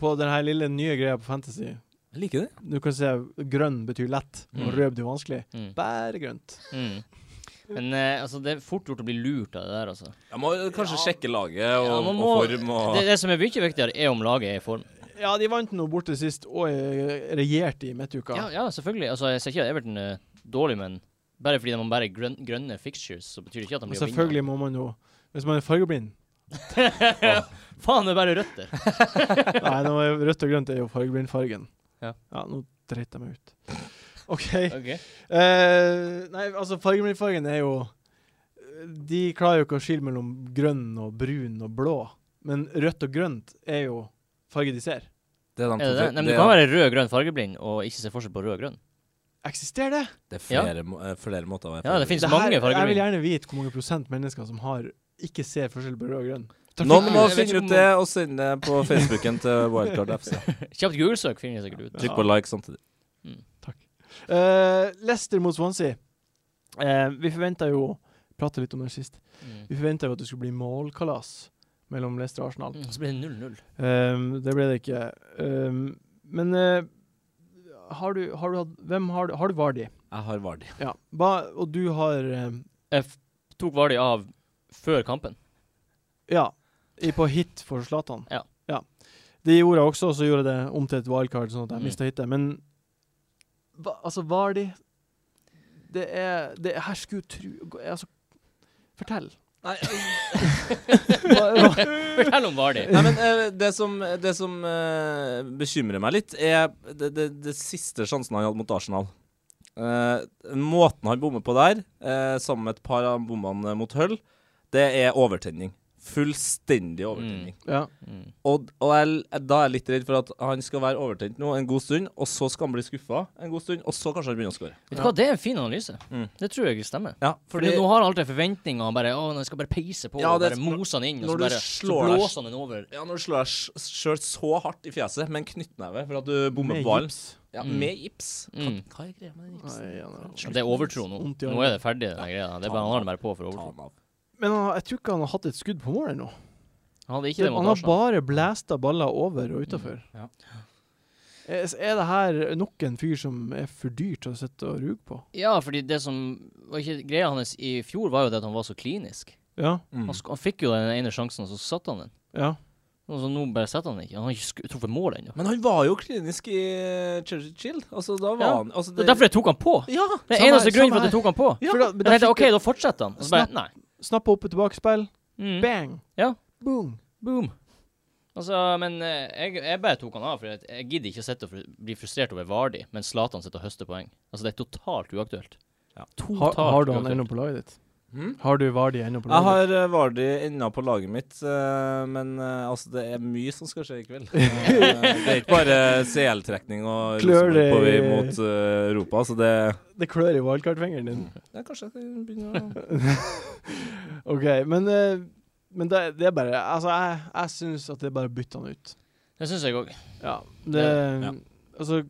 Speaker 1: På den her lille nye greia på Fantasy
Speaker 2: Jeg liker det.
Speaker 1: Du kan se grønn betyr lett, og
Speaker 3: Mm.
Speaker 1: rød betyr vanskelig.
Speaker 3: Mm.
Speaker 1: Bare grønt.
Speaker 3: Mm. Men eh, altså, det er fort gjort å bli lurt av det der, altså.
Speaker 2: Jeg må kanskje sjekke laget og,
Speaker 3: Ja, man må,
Speaker 2: og form og
Speaker 3: det, det som er mye viktigere, er om laget er i form.
Speaker 1: Ja, de vant nå borte sist, og eh, regjerte i midtuka.
Speaker 3: Ja, ja, selvfølgelig. Altså, jeg sier ikke at Everton er dårlig, men bare fordi de har bare grøn, grønne fixtures, så betyr det ikke at de
Speaker 1: Men
Speaker 3: blir å vinne.
Speaker 1: selvfølgelig må man jo Hvis man er fargeblind
Speaker 3: Faen, det er bare rødt der.
Speaker 1: Nei, nå er rødt og grønt er jo fargeblindfargen.
Speaker 3: Ja.
Speaker 1: ja, nå dreit jeg meg ut. OK.
Speaker 3: Ok.
Speaker 1: Eh, nei, altså, fargeblindfargen er jo De klarer jo ikke å skille mellom grønn og brun og blå. Men rødt og grønt er jo farge de ser.
Speaker 2: Det er, de
Speaker 3: Er det
Speaker 2: to-
Speaker 3: det? Nei, men
Speaker 2: det
Speaker 3: du
Speaker 2: er-
Speaker 3: kan være rød-grønn fargeblind og ikke se forskjell på rød-grønn.
Speaker 1: Eksisterer det?
Speaker 2: det er flere, må- eh, flere måter å være
Speaker 3: Ja, det
Speaker 2: forberedt.
Speaker 3: finnes mange
Speaker 1: Jeg vil
Speaker 3: fargeblind.
Speaker 1: gjerne vite hvor mange prosent mennesker som har ikke ser forskjell på rød og grønn.
Speaker 2: Noen må
Speaker 3: Jeg vet ikke
Speaker 2: finne
Speaker 3: om-
Speaker 2: ut det og sende det på Facebooken til Wildcard FC.
Speaker 3: Kjapt Google-søk finner jeg sikkert ut.
Speaker 2: Trykk på like samtidig.
Speaker 1: Eh, Leicester mot Swansea. Eh, vi forventa jo Prata litt om det sist.
Speaker 3: Mm.
Speaker 1: Vi forventa jo at det skulle bli målkalas mellom Leicester og Arsenal.
Speaker 3: Mm, Så blir det 0-0.
Speaker 1: Eh, det ble det ikke. Eh, men eh, har du, har du hatt Hvem har du? Har du Vardi?
Speaker 2: Jeg har Vardi.
Speaker 1: Ja. Hva, og du har eh,
Speaker 3: Jeg f- tok Vardi av før kampen.
Speaker 1: Ja. I, på hit for Zlatan.
Speaker 3: Ja.
Speaker 1: Det gjorde jeg også, og så gjorde jeg det om til et wildcard, sånn at jeg
Speaker 3: Mm.
Speaker 1: mista hitet. Men hva, altså, Vardi Det er Det er hersker utru... Altså, fortell.
Speaker 2: Nei,
Speaker 1: Hva- hva-
Speaker 3: Fortell om Vardi.
Speaker 2: Nei, men eh, det som, det som eh, bekymrer meg litt, er det, det, det siste sjansen han hadde mot Arsenal. Eh, måten han bommer på der, eh, sammen med et par av bommene mot Hull, det er overtenning. Fullstendig overtenning.
Speaker 1: ja.
Speaker 3: Mm.
Speaker 2: Og, og jeg, da er jeg litt redd for at han skal være overtent nå en god stund, og så skal han bli skuffa en god stund, og så kanskje han begynner å skåre.
Speaker 3: Vet du hva, det er en fin analyse.
Speaker 2: Mm.
Speaker 3: Det tror jeg stemmer.
Speaker 2: Ja,
Speaker 3: Fordi
Speaker 2: fordi
Speaker 3: nå har han alltid forventninger. Han bare, å, han skal bare peise på
Speaker 2: Ja,
Speaker 3: og
Speaker 2: det er
Speaker 3: bare
Speaker 2: så-
Speaker 3: mose han inn. Og
Speaker 2: når
Speaker 3: så
Speaker 2: du
Speaker 3: bare så
Speaker 2: slår deg-
Speaker 3: blåser han den over.
Speaker 2: ja, når du slår deg sjøl så hardt i fjeset med en knyttneve for at du bommer
Speaker 1: Med
Speaker 2: på ballen
Speaker 1: gips.
Speaker 2: ja,
Speaker 3: Mm.
Speaker 2: Med gips.
Speaker 3: Mm.
Speaker 2: Hva er greia med den gipsen?
Speaker 1: Nei, han er-
Speaker 3: Ja, Det er overtro nå.
Speaker 1: Vondt i
Speaker 3: Nå er det ferdig, den greia. Det er bare, han har den bare på for
Speaker 2: Ta
Speaker 3: overtro.
Speaker 2: den av.
Speaker 1: Men han, jeg tror ikke han har hatt et skudd på mål ennå.
Speaker 3: Han hadde ikke det
Speaker 1: Han
Speaker 3: mot
Speaker 1: har
Speaker 3: Arsenal.
Speaker 1: bare blæsta baller over og utafor.
Speaker 3: Mm,
Speaker 2: ja.
Speaker 1: Er, er det her nok en fyr som er for dyr til å sitte og ruge på?
Speaker 3: Ja, fordi det som var ikke greia hans i fjor, var jo det at han var så klinisk.
Speaker 1: Ja.
Speaker 2: Mm.
Speaker 3: Han, sk han fikk jo den ene sjansen, og så satt han den.
Speaker 1: Ja.
Speaker 3: Og så nå bare setter han den ikke. Han har ikke sk- truffet mål ennå.
Speaker 2: Men han var jo klinisk i Churchill. Altså, da var
Speaker 3: Ja.
Speaker 2: han altså,
Speaker 3: Det er derfor jeg tok han på.
Speaker 2: Ja!
Speaker 3: Det er
Speaker 1: Samme her,
Speaker 3: eneste grunnen
Speaker 1: samme
Speaker 3: for at jeg tok han på.
Speaker 1: For da,
Speaker 3: Jeg tenkte
Speaker 1: da
Speaker 3: OK,
Speaker 1: fikk
Speaker 3: da fortsetter han. Og så bare Nei.
Speaker 1: du Snappa opp et tilbakespill.
Speaker 3: Mm.
Speaker 1: Bang!
Speaker 3: Ja.
Speaker 1: Boom!
Speaker 3: Boom. Altså, men eh, jeg, jeg bare tok han av, for jeg, jeg gidder ikke å sitte og fru- bli frustrert over Vardi, mens Zlatan sitter og høster poeng. Altså, det er totalt uaktuelt.
Speaker 2: Ja.
Speaker 1: Har,
Speaker 3: Totalt
Speaker 1: har du han
Speaker 3: uaktuelt.
Speaker 1: ennå på laget ditt?
Speaker 2: Hm?
Speaker 1: Har du Vardi ennå på
Speaker 2: Jeg
Speaker 1: laget?
Speaker 2: har eh, Vardy ennå på laget mitt, eh, men eh, altså, det er mye som skal skje i kveld. Eh, Det er ikke bare CL-trekning og
Speaker 1: Klør
Speaker 2: Rosenborg på vei
Speaker 1: det-
Speaker 2: mot eh, Europa, så det
Speaker 1: ditt? Det klør i wildcard-fingeren din.
Speaker 2: ja, Kanskje jeg skal begynne å
Speaker 1: OK, men, eh, men det, det er bare Altså, jeg, jeg syns at det er bare å bytte han ut.
Speaker 3: Det syns jeg òg.
Speaker 1: Ja. Det,
Speaker 3: Det-
Speaker 2: ja.
Speaker 1: Altså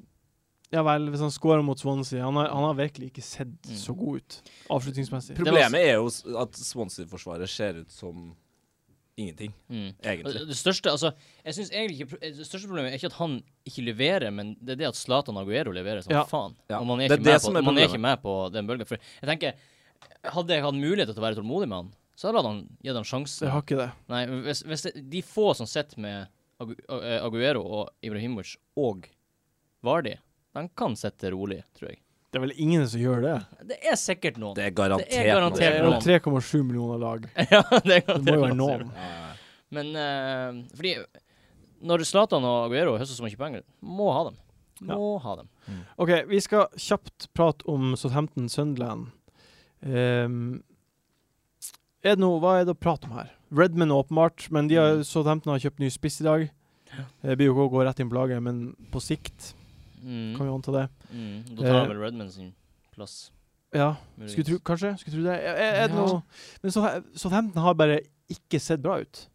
Speaker 1: Ja vel, hvis han scorer mot Swansea Han har, han har virkelig ikke sett
Speaker 3: Mm.
Speaker 1: så god ut avslutningsmessig.
Speaker 3: var-
Speaker 2: Problemet er jo s- at Swansea-forsvaret ser ut som ingenting,
Speaker 3: Mm. Og
Speaker 2: egentlig.
Speaker 3: Det det største, altså, jeg synes egentlig ikke, pro- det største problemet er ikke at han ikke leverer, men det er det at Zlatan Aguero leverer som
Speaker 1: Ja.
Speaker 3: faen.
Speaker 2: Ja.
Speaker 3: Og man er,
Speaker 2: Det er
Speaker 3: ikke
Speaker 2: det
Speaker 3: med,
Speaker 2: som
Speaker 3: på, man
Speaker 2: er
Speaker 3: er
Speaker 2: problemet.
Speaker 3: ikke med på den bølgen. For jeg tenker, hadde jeg hatt mulighet til å være tålmodig med han, så hadde han gitt han
Speaker 1: Jeg
Speaker 3: sjansen.
Speaker 1: har ikke det.
Speaker 3: Nei, men hvis, hvis det, de få som sitter med Agu, eh, Aguero og Ibrahimovic og Vardi, de kan sitte rolig, tror jeg.
Speaker 1: Det er vel ingen som gjør det.
Speaker 3: Det er sikkert noen.
Speaker 2: Det er garantert,
Speaker 3: Det er garantert
Speaker 1: Det er jo
Speaker 3: noen.
Speaker 1: 3,7 millioner lag.
Speaker 3: ja, det,
Speaker 1: Det må jo være noen.
Speaker 2: Ja.
Speaker 3: Men eh, fordi når Zlatan og Aguero høster så mye penger, må ha dem. Må ha dem.
Speaker 1: OK, vi skal kjapt prate om Southampton Sunderland. Ehm, er det noe, hva er det å prate om her? Redman åpenbart, men de
Speaker 3: Mm.
Speaker 1: har, Southampton har kjøpt ny spiss i dag. Eh, Blir jo ikke å gå rett inn på laget, men på sikt
Speaker 3: Mm.
Speaker 1: kan vi anta det.
Speaker 3: mm. Da tar
Speaker 1: Eh,
Speaker 3: han vel Redman sin plass.
Speaker 1: Ja,
Speaker 3: muligens.
Speaker 1: skulle tro, kanskje? Skulle tro det. Er, er det
Speaker 3: Ja.
Speaker 1: noe Men Southa- Southampton har bare ikke sett bra ut.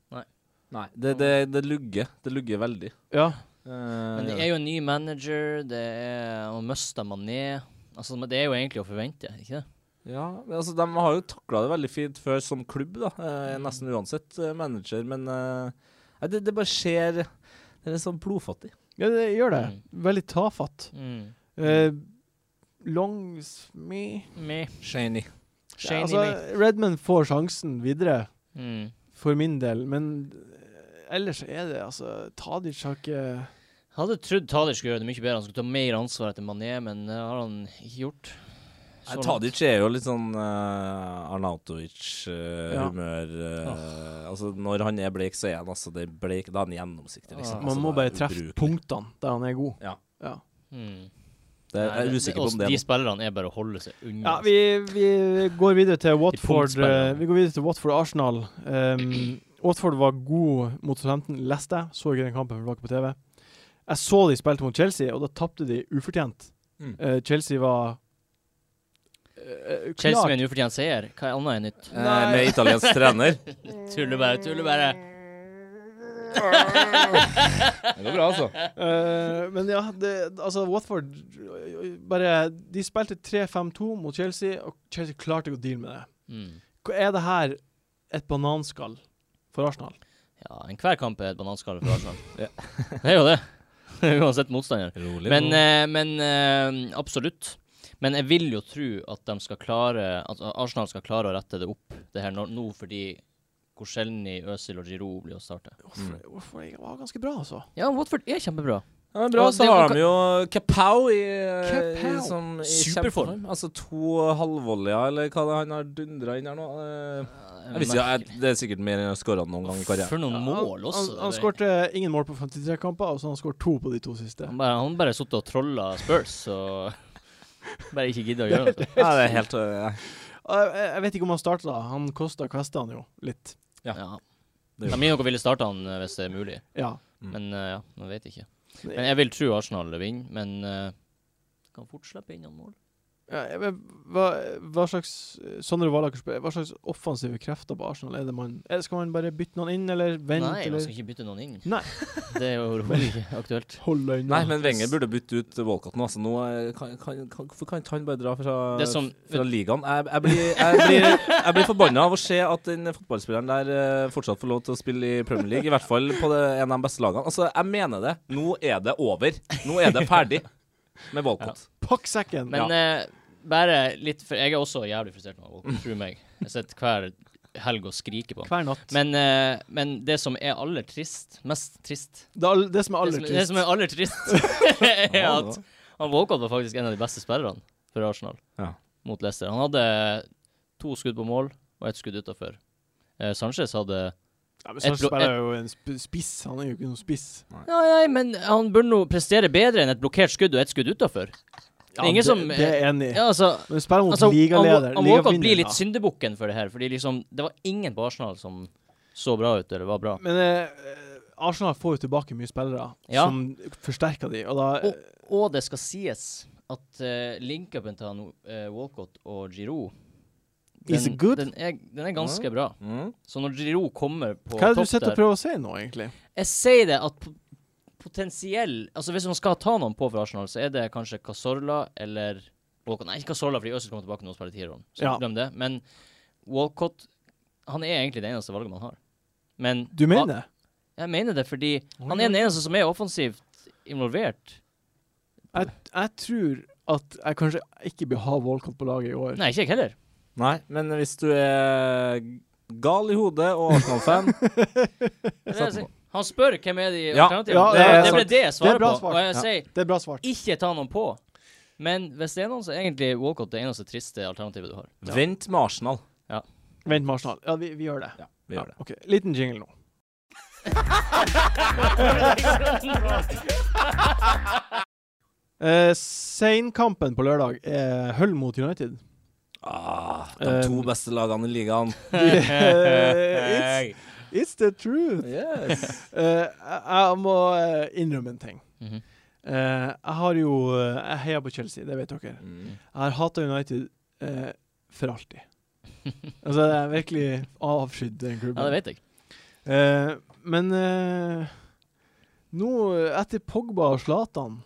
Speaker 2: Nei, det, det, det lugger. Det lugger veldig. Eh,
Speaker 1: Ja.
Speaker 3: Men det er jo en ny manager, det er å miste Mané. Altså, men det er jo egentlig å forvente, ikke det?
Speaker 2: Ja, men altså De har jo takla det veldig fint før som klubb, da. Eh, nesten uansett eh, manager, men eh, nei, det, det bare skjer Det er sånn blodfattig.
Speaker 1: ja, det gjør det. Veldig tafatt.
Speaker 3: Mm.
Speaker 1: Eh, longs me
Speaker 3: Me.
Speaker 2: Shiny.
Speaker 3: Mm. Shane
Speaker 1: altså, Redman får sjansen videre,
Speaker 3: i me. Mm.
Speaker 1: for min del, men eh, ellers er det altså Tadic har ikke
Speaker 3: Hadde trodd Tadic skulle gjøre det mye bedre, han skulle ta mer ansvar etter Mané, men det har han ikke gjort. Så
Speaker 2: Nei,
Speaker 3: langt.
Speaker 2: Tadic er jo litt sånn uh,
Speaker 1: Ja.
Speaker 2: Arnautovic-humør. Altså, når han er bleik, så er han altså det er bleik, Da er han gjennomsiktig,
Speaker 3: Ah.
Speaker 2: liksom.
Speaker 1: Man
Speaker 2: altså,
Speaker 1: må
Speaker 2: det
Speaker 1: bare
Speaker 2: er
Speaker 1: treffe
Speaker 2: ubrukelig.
Speaker 1: punktene der han er god.
Speaker 2: Ja.
Speaker 1: ja.
Speaker 3: Mm.
Speaker 2: Det,
Speaker 3: Nei,
Speaker 2: jeg
Speaker 3: det-
Speaker 2: er usikker på
Speaker 3: også
Speaker 2: om det er
Speaker 3: De spillerne er bare å holde seg unna.
Speaker 1: Ja, vi, vi går videre til Watford
Speaker 3: punktspillerne.
Speaker 1: eh, Vi går videre til Watford og Arsenal. Um, Watford var god mot Southampton, leste jeg. Så ikke den kampen for dere på TV. Jeg så de spilte mot Chelsea, og da tapte de ufortjent.
Speaker 2: Mm.
Speaker 1: Eh, Chelsea var eh,
Speaker 3: Chelsea
Speaker 1: klart-
Speaker 3: med en ufortjent seier, hva er annet enn nytt?
Speaker 2: noe eh, med italiensk trener.
Speaker 3: Tuller bare, tuller bare.
Speaker 2: Det går bra, altså.
Speaker 1: Eh, men ja, det, altså Watford eh, bare De spilte 3-5-2 mot Chelsea, og Chelsea klarte ikke å deale med det.
Speaker 3: Mm.
Speaker 1: Hva Er det her et bananskall for Arsenal?
Speaker 3: Ja, enhver kamp er et bananskall for Arsenal.
Speaker 2: Ja.
Speaker 3: det er jo det. Uansett motstander.
Speaker 2: Rolig.
Speaker 3: Men,
Speaker 2: nå.
Speaker 3: eh, men eh, absolutt. Men jeg vil jo tro at de skal klare At Arsenal skal klare å rette det opp, det her nå, nå fordi hvor sjelden i Øzil og Giroud blir å starte.
Speaker 2: Mm.
Speaker 1: Hvorfor, hvorfor det var ganske bra, altså.
Speaker 3: Ja, Watford er kjempebra.
Speaker 2: ja, men bra,
Speaker 3: og
Speaker 2: så
Speaker 3: det- og-
Speaker 2: har de jo eh, Kapow i, i,
Speaker 1: Kapow.
Speaker 2: som, i
Speaker 3: Superform.
Speaker 2: kjempeform. Altså to halvvolleyer, eller hva det er han har dundra inn her nå. Eh, Jeg visste, ja, jeg, det er sikkert mer enn jeg har skåra noen gang i karrieren.
Speaker 3: For noen mål også.
Speaker 1: Han, han
Speaker 3: det-
Speaker 1: skårte ingen mål på 53 kamper, og så har han skåret to på de to siste.
Speaker 3: Han bare, han bare suttet og trolla Spurs og bare ikke gidda å gjøre noe.
Speaker 2: Ja, det er helt eh,
Speaker 1: Eh, jeg, jeg vet ikke om han starta, da. han kosta kvesta han jo litt.
Speaker 2: Ja.
Speaker 3: Ja. De
Speaker 2: Det er jo- Mm.
Speaker 3: er nok å ville starte han eh, hvis det er mulig,
Speaker 1: Ja.
Speaker 3: men eh, ja, man vet ikke. Men jeg vil tro Arsenal vinner, men eh, kan fort slippe inn noen mål.
Speaker 1: Ja, jeg vet- hva, hva slags eh, Sondre Valaker spør Hva slags offensive krefter på Arsenal er det man er, Skal man bare bytte noen inn, eller vente,
Speaker 3: Nei, altså- man
Speaker 1: eller
Speaker 3: skal ikke bytte noen inn.
Speaker 1: Nei.
Speaker 3: Det er jo overhodet ikke aktuelt.
Speaker 1: Hold deg
Speaker 2: Nei, men Wenger burde bytte ut Walcott nå. Altså, nå eh, kan, kan, kan, hvorfor kan ikke han bare dra fra,
Speaker 3: Det som-
Speaker 2: fra ligaen? Jeg, jeg blir, jeg blir, jeg blir forbanna av å se at den fotballspilleren der eh, fortsatt får lov til å spille i Premier League. I hvert fall på det, en av de beste lagene. Altså, jeg mener det. Nå er det over. Nå er det ferdig med Walcott.
Speaker 1: Pakk sekken!
Speaker 3: Men eh, bare litt For jeg er også jævlig frustrert nå, og tro meg. Jeg sitter hver helg og skriker på han.
Speaker 1: Hver natt.
Speaker 3: Men, eh, men det som er aller trist, mest trist
Speaker 1: det, er all, det som er aller
Speaker 3: det, som, det
Speaker 1: trist
Speaker 3: som er aller trist, er
Speaker 2: Ja,
Speaker 3: at han Walcott var faktisk en av de beste spillerne for Arsenal
Speaker 2: Ja.
Speaker 3: mot Leicester. Han hadde to skudd på mål og ett skudd utafor. Sanchez hadde
Speaker 1: ja, men
Speaker 3: et
Speaker 1: Sanchez
Speaker 3: blå-
Speaker 1: bare er jo en sp spiss. Han er jo ikke noen spiss.
Speaker 3: Nei, nei, men han bør nå prestere bedre enn et blokkert skudd og ett skudd utafor. Det er ingen
Speaker 1: det,
Speaker 3: som-
Speaker 1: det er jeg enig i.
Speaker 3: Ja, altså,
Speaker 1: Men spiller mot
Speaker 3: altså,
Speaker 1: ligaleder.
Speaker 3: Han, han Walcott blir
Speaker 1: ligavinneren,
Speaker 3: litt syndebukken for det her, fordi liksom, det var ingen på Arsenal som så bra ut eller var bra.
Speaker 1: da. Men eh, eh, Arsenal får jo tilbake mye spillere
Speaker 3: Ja.
Speaker 1: som forsterker de, og da eh,
Speaker 3: Og, og det skal sies at uh, link-upen til han, eh, Walcott og Giroud
Speaker 1: Is it good?
Speaker 3: Den er, den er ganske bra.
Speaker 2: Mm.
Speaker 3: Så når Giroud kommer på
Speaker 1: Hva er det
Speaker 3: topp
Speaker 1: du sitter
Speaker 3: der
Speaker 1: og prøver å si nå, egentlig?
Speaker 3: Jeg sier det at po- potensiell Altså hvis man skal ta noen på for Arsenal, så er det kanskje Casorla eller Walcott. Nei, ikke Casorla, fordi Øzil kommer tilbake nå og spiller tierrollen. Så
Speaker 1: Ja.
Speaker 3: glem det. Men Walcott Han er egentlig det eneste valget man har. Men
Speaker 1: Du mener
Speaker 3: hva-
Speaker 1: det?
Speaker 3: Jeg mener det, fordi han
Speaker 1: Oi,
Speaker 3: er den eneste som er offensivt involvert.
Speaker 1: Jeg, jeg tror at jeg kanskje ikke bør ha Walcott på laget i år.
Speaker 3: Nei, ikke jeg heller.
Speaker 2: Nei, men hvis du er gal i hodet og Arsenal-fan
Speaker 3: Det er det
Speaker 2: Sett
Speaker 3: jeg
Speaker 2: på.
Speaker 3: sier. Han spør hvem er de
Speaker 2: Ja.
Speaker 3: alternativene.
Speaker 1: Ja,
Speaker 3: det,
Speaker 1: det er
Speaker 3: det ble
Speaker 1: sant.
Speaker 3: det jeg
Speaker 1: Det er
Speaker 3: svarer
Speaker 1: bra
Speaker 3: på.
Speaker 1: svar.
Speaker 3: Og jeg
Speaker 2: Ja.
Speaker 3: sier
Speaker 1: Det er bra svart.
Speaker 3: ikke ta noen på. Men hvis det er noen, så er egentlig Walcott det eneste triste alternativet du har.
Speaker 2: Vent med Arsenal.
Speaker 1: Vent med Arsenal. Ja, vi, vi gjør det.
Speaker 2: Ja, vi gjør det.
Speaker 1: Ok, Liten jingle nå. Eh, Seinkampen på lørdag er Hull mot United.
Speaker 2: Ah, de to
Speaker 1: Um,
Speaker 2: beste lagene i ligaen.
Speaker 1: Eh, it's, it's the truth.
Speaker 2: Yes.
Speaker 1: Eh, jeg, jeg må eh, innrømme en ting.
Speaker 3: Mhm.
Speaker 1: Eh, jeg har jo eh, Jeg heier på Chelsea, det vet dere.
Speaker 2: Mm.
Speaker 1: Jeg har hata United eh, for alltid. altså, jeg har virkelig avskydd den klubben.
Speaker 3: Ja, det vet jeg.
Speaker 1: Eh, men eh, nå, etter Pogba og Zlatan,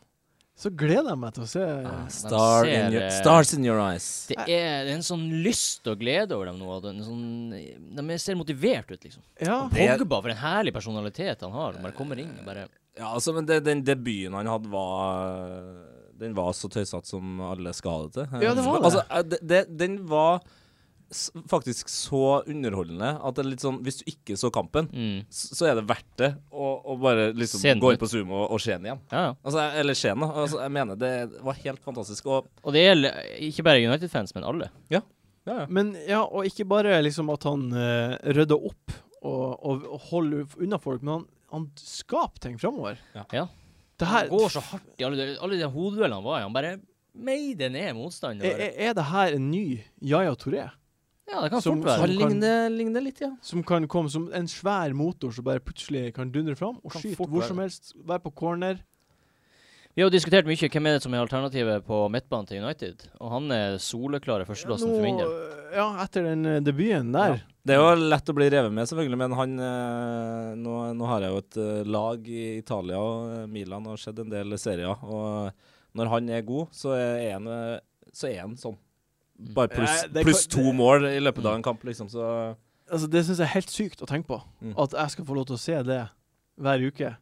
Speaker 1: så gleder jeg meg til å se
Speaker 2: Ah,
Speaker 3: de
Speaker 2: star
Speaker 3: ser,
Speaker 2: in your,
Speaker 3: eh,
Speaker 2: stars in your eyes.
Speaker 3: Det er, det er en sånn lyst og glede over dem nå. og det er En sånn, de ser motivert ut, liksom.
Speaker 1: Ja.
Speaker 2: Det-
Speaker 3: Pogba, for en herlig personalitet han har. Han bare kommer inn og bare
Speaker 2: Ja, altså, men det, den debuten han hadde, var Den var så tøysete som alle skal ha det til.
Speaker 1: Ja, det var det.
Speaker 2: Altså, eh, det, det, den var s faktisk så underholdende at det er litt sånn Hvis du ikke så kampen,
Speaker 3: mm.
Speaker 2: s- så er det verdt det å, å bare liksom
Speaker 3: Se den
Speaker 2: gå
Speaker 3: ut.
Speaker 2: inn på Zoom og, og se den igjen.
Speaker 3: Ja, ja.
Speaker 2: Altså, jeg- eller Skien, da. Altså, jeg mener det var helt fantastisk. Og
Speaker 3: Og det gjelder ikke bare United-fans, men alle.
Speaker 2: ja, ja.
Speaker 1: Men ja, og ikke bare liksom at han eh, rydder opp og, og, og holder unna folk, men han, han skaper ting framover.
Speaker 3: Ja.
Speaker 1: Det
Speaker 3: Han
Speaker 1: her,
Speaker 3: går så hardt i alle, de- alle de hodeduellene han var i. Han bare meide ned
Speaker 1: er,
Speaker 3: motstanderen.
Speaker 1: er- er det her en ny Yaya Touré?
Speaker 3: Ja, det kan
Speaker 1: Som-
Speaker 3: fort være.
Speaker 1: som- kan-
Speaker 2: ligner litt, ja.
Speaker 1: Som kan komme som en svær motor som bare plutselig kan dundre fram og
Speaker 3: Kan
Speaker 1: skyte
Speaker 3: fort
Speaker 1: hvor
Speaker 3: være
Speaker 1: som helst. Være på corner.
Speaker 3: Vi har jo diskutert mye hvem er det som er alternativet på midtbanen til United. Og han er soleklare førsteplassen for min del.
Speaker 1: ja, etter den eh, debuten der.
Speaker 2: Det er jo lett å bli revet med, selvfølgelig, men han eh, nå, nå har jeg jo et eh, lag i Italia, og eh, Milan har sett en del serier. Og når han er god, så er han, eh, så er han sånn. Bare pluss
Speaker 1: Eh, det
Speaker 2: pluss
Speaker 1: kan-
Speaker 2: to mål i løpet av en kamp, liksom, så
Speaker 1: Altså, det syns jeg er helt sykt å tenke på.
Speaker 2: Mm.
Speaker 1: At jeg skal få lov til å se det hver uke.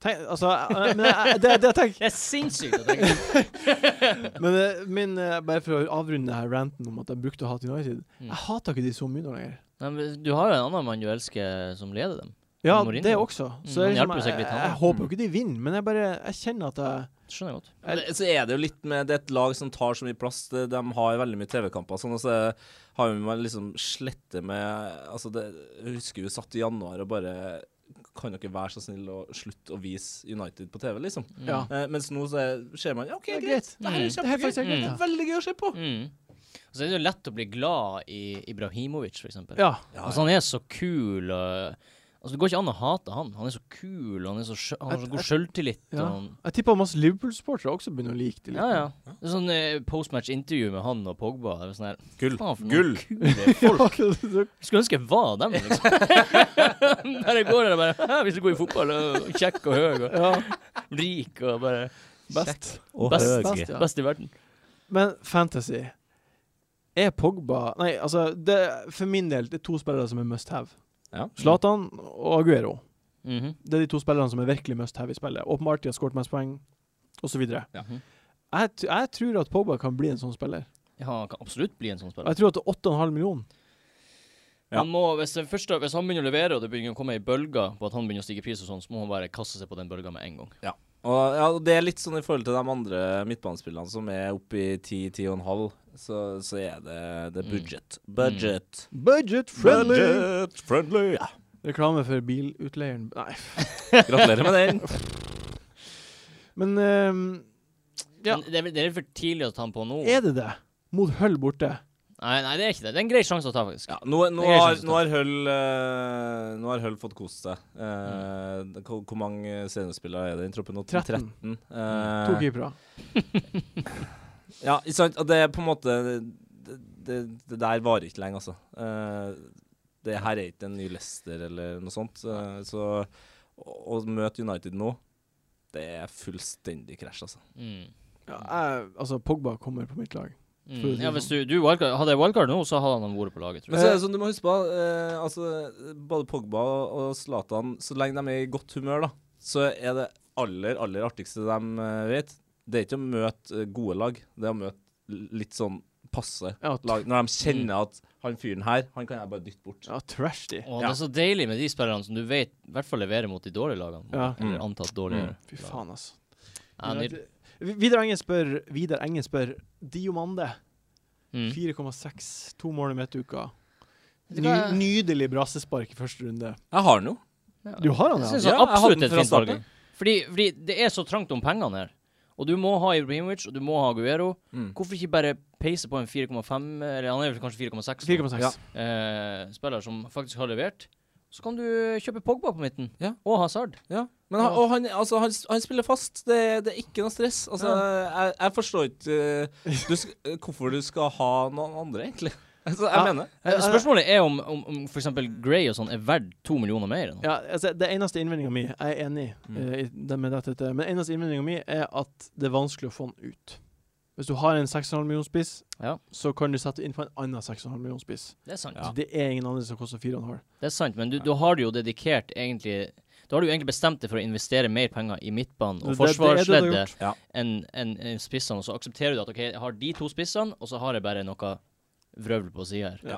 Speaker 1: Tenk, altså, eh, men jeg, det, det jeg tenker
Speaker 3: Det er sinnssykt å tenke på.
Speaker 1: Men eh, min, eh, bare for å avrunde her ranten om at jeg brukte å hate United
Speaker 3: Mm.
Speaker 1: Jeg hater ikke de så mye nå lenger.
Speaker 3: Nei, men Du har jo en annen mann du elsker, som leder dem.
Speaker 1: Ja,
Speaker 3: Mourinho.
Speaker 1: det også. Så
Speaker 3: Mm,
Speaker 1: jeg, liksom,
Speaker 3: han hjelper
Speaker 1: jeg,
Speaker 3: sikkert litt,
Speaker 1: jeg,
Speaker 3: han da. Mm.
Speaker 1: håper jo ikke de vinner, men jeg bare Jeg kjenner at jeg
Speaker 3: Skjønner jeg godt.
Speaker 2: Men det, Så er det jo litt med Det er et lag som tar så mye plass. Det- De har veldig mye TV-kamper. Sånn, og så har man liksom slette med altså det, Jeg husker vi satt i januar og bare Kan dere være så snill å slutte å vise United på TV, liksom?
Speaker 3: Mm.
Speaker 1: Ja.
Speaker 2: Eh, mens nå så er- ser man ja, OK,
Speaker 1: Det er
Speaker 2: greit.
Speaker 1: greit.
Speaker 2: Det her er
Speaker 3: Mm.
Speaker 1: Det her er
Speaker 2: kjempegøy.
Speaker 1: faktisk helt greit,
Speaker 2: Det
Speaker 1: ja.
Speaker 2: er Veldig gøy å se på.
Speaker 3: Mm. Og så er det jo lett å bli glad i Ibrahimovic, for eksempel.
Speaker 1: Ja.
Speaker 3: Altså, han er så kul. og- altså, det går ikke an å hate han. Han er så kul, og han, er så, skjø- han har så god selvtillit.
Speaker 1: Ja.
Speaker 3: Og han,
Speaker 1: Jeg tipper masse Liverpool-sportere også begynner å like det litt.
Speaker 3: ja, ja. Det er sånn eh, postmatch-intervju med han og Pogba. Det er sånn her,
Speaker 2: Gull.
Speaker 3: faen for noen
Speaker 2: Gull.
Speaker 3: kule folk.
Speaker 1: Folk.
Speaker 3: Skulle ønske jeg var dem, liksom. Bare går der og bare «Haha, Hvis du går i fotball, og kjekk og høy og
Speaker 1: ja.
Speaker 3: rik og bare
Speaker 1: Best.
Speaker 2: Og
Speaker 3: Best-
Speaker 2: høy.
Speaker 1: best, ja.
Speaker 3: Best i verden.
Speaker 1: Men fantasy Er Pogba Nei, altså, det, for min del det er to spillere som er must have.
Speaker 2: Ja.
Speaker 1: Zlatan og Aguero.
Speaker 3: Mhm.
Speaker 1: Det er de to spillerne som er virkelig must have i spillet. Åpenbart de har skåret mest poeng, osv.
Speaker 2: Ja.
Speaker 3: Mhm.
Speaker 1: Jeg, t- jeg tror at Pogba kan bli en sånn spiller.
Speaker 3: Ja, han kan absolutt bli en sånn spiller.
Speaker 1: Jeg tror at det er 8,5 millioner.
Speaker 2: Ja.
Speaker 3: Han må, hvis, den første, hvis han begynner å levere, og det begynner å komme ei bølge på at han begynner å stige pris, og sånn, så må han bare kaste seg på den bølga med en gang.
Speaker 2: Og ja, og det er litt sånn i forhold til de andre midtbanespillerne som er oppe i 10-10,5, så, så er det, det er
Speaker 3: Mm.
Speaker 2: budget. Budget.
Speaker 1: Budget friendly!
Speaker 2: Budget friendly. Ja.
Speaker 1: Reklame for bilutleieren Nei.
Speaker 2: Gratulerer med den.
Speaker 1: Men ehm, Ja.
Speaker 3: Men det, er, vel- det er for tidlig å ta han på nå.
Speaker 1: er det det? Mot Hull borte.
Speaker 3: Nei, nei, det er ikke det. Det er en grei sjanse å ta, faktisk.
Speaker 2: Ja, nå, nå,
Speaker 3: Det er
Speaker 2: har,
Speaker 3: greit å
Speaker 2: nå, har Hull, eh, nå har Hull fått kost seg. Eh, det- hvor, hvor mange seniorspillere er det i den troppen nå?
Speaker 1: 13.
Speaker 2: 13.
Speaker 1: To
Speaker 2: Eh,
Speaker 1: keepere.
Speaker 2: ja, ikke sant? Og det er på en måte Det, det, det der varer ikke lenge, altså. Eh, det her er ikke en ny Leicester eller noe sånt. eh, så å, å møte United nå, det er fullstendig krasj, altså.
Speaker 3: Mm.
Speaker 1: Ja, jeg, altså, Pogba kommer på mitt lag. For å
Speaker 3: Mm.
Speaker 1: si
Speaker 3: Ja,
Speaker 1: det
Speaker 3: hvis du, du wildcard, Hadde jeg wildcard nå, så hadde han vært på laget, tror
Speaker 2: Men
Speaker 3: jeg.
Speaker 2: så er det sånn, du må huske på eh, altså, Både Pogba og Zlatan, så lenge de er i godt humør, da, så er det aller, aller artigste de eh, vet, det er ikke å møte eh, gode lag, det er å møte l- litt sånn passe
Speaker 1: Ja, t-
Speaker 2: lag. Når de kjenner at han fyren her, han kan jeg bare dytte bort.
Speaker 1: ja trash de.
Speaker 3: Og det er så deilig med de spillerne som du vet i hvert fall leverer mot de dårlige lagene.
Speaker 1: Ja.
Speaker 3: Eller antatt dårligere.
Speaker 1: Mm. Fy faen, altså.
Speaker 3: Ja, nydelig.
Speaker 1: United- Vi- Vidar Engen spør, Vidar Engen spør Diomande.
Speaker 3: Mm.
Speaker 1: 4,6. To mål i midtuka.
Speaker 3: Vet du
Speaker 1: Ny,
Speaker 3: hva?
Speaker 1: nydelig brassespark i første runde.
Speaker 2: Jeg har den jo.
Speaker 3: Ja.
Speaker 1: Du har han,
Speaker 3: Jeg
Speaker 1: ja?
Speaker 3: synes
Speaker 2: Ja, jeg hadde
Speaker 3: absolutt
Speaker 2: den
Speaker 3: et
Speaker 2: fra
Speaker 3: fint valg.
Speaker 2: starten.
Speaker 3: Fordi, fordi det er så trangt om pengene her. Og du må ha Ibrahimovic, og du må ha Aguero.
Speaker 2: Mm.
Speaker 3: Hvorfor ikke bare peise på en 4,5, eller han er vel kanskje 4,6 nå,
Speaker 1: 4,6.
Speaker 2: Ja.
Speaker 3: eh, spiller som faktisk har levert? Så kan du kjøpe Pogba på midten,
Speaker 2: Ja.
Speaker 3: og Hazard.
Speaker 2: Ja. Men han, og han, altså, han, han spiller fast. Det, det er ikke noe stress. Altså, jeg, jeg forstår ikke eh, du, sk- hvorfor du skal ha noen andre, egentlig. Altså, jeg
Speaker 1: Ja.
Speaker 2: mener
Speaker 3: Eh, Spørsmålet er om, om, om f.eks. Gray og sånn er verdt to millioner mer. Nå.
Speaker 1: Ja, altså, det eneste innvendinga mi Jeg er enig
Speaker 2: Mm.
Speaker 1: eh, i det med dette, dette, men eneste innvendinga mi er at det er vanskelig å få den ut. Hvis du har en 6,5 million spiss,
Speaker 3: Ja.
Speaker 1: så kan du sette inn på en annen 6,5 million spiss.
Speaker 3: Det er sant.
Speaker 1: Så Det er ingen andre som koster 4,5.
Speaker 3: Det er sant, men du, da har du jo dedikert egentlig Da har du jo egentlig bestemt deg for å investere mer penger i midtbanen og
Speaker 1: Det- det- det er det du har
Speaker 3: forsvarsleddet
Speaker 2: gjort.
Speaker 3: enn enn- enn spissene, og så aksepterer du at OK, jeg har de to spissene, og så har jeg bare noe vrøvl på sida her.
Speaker 1: Ja.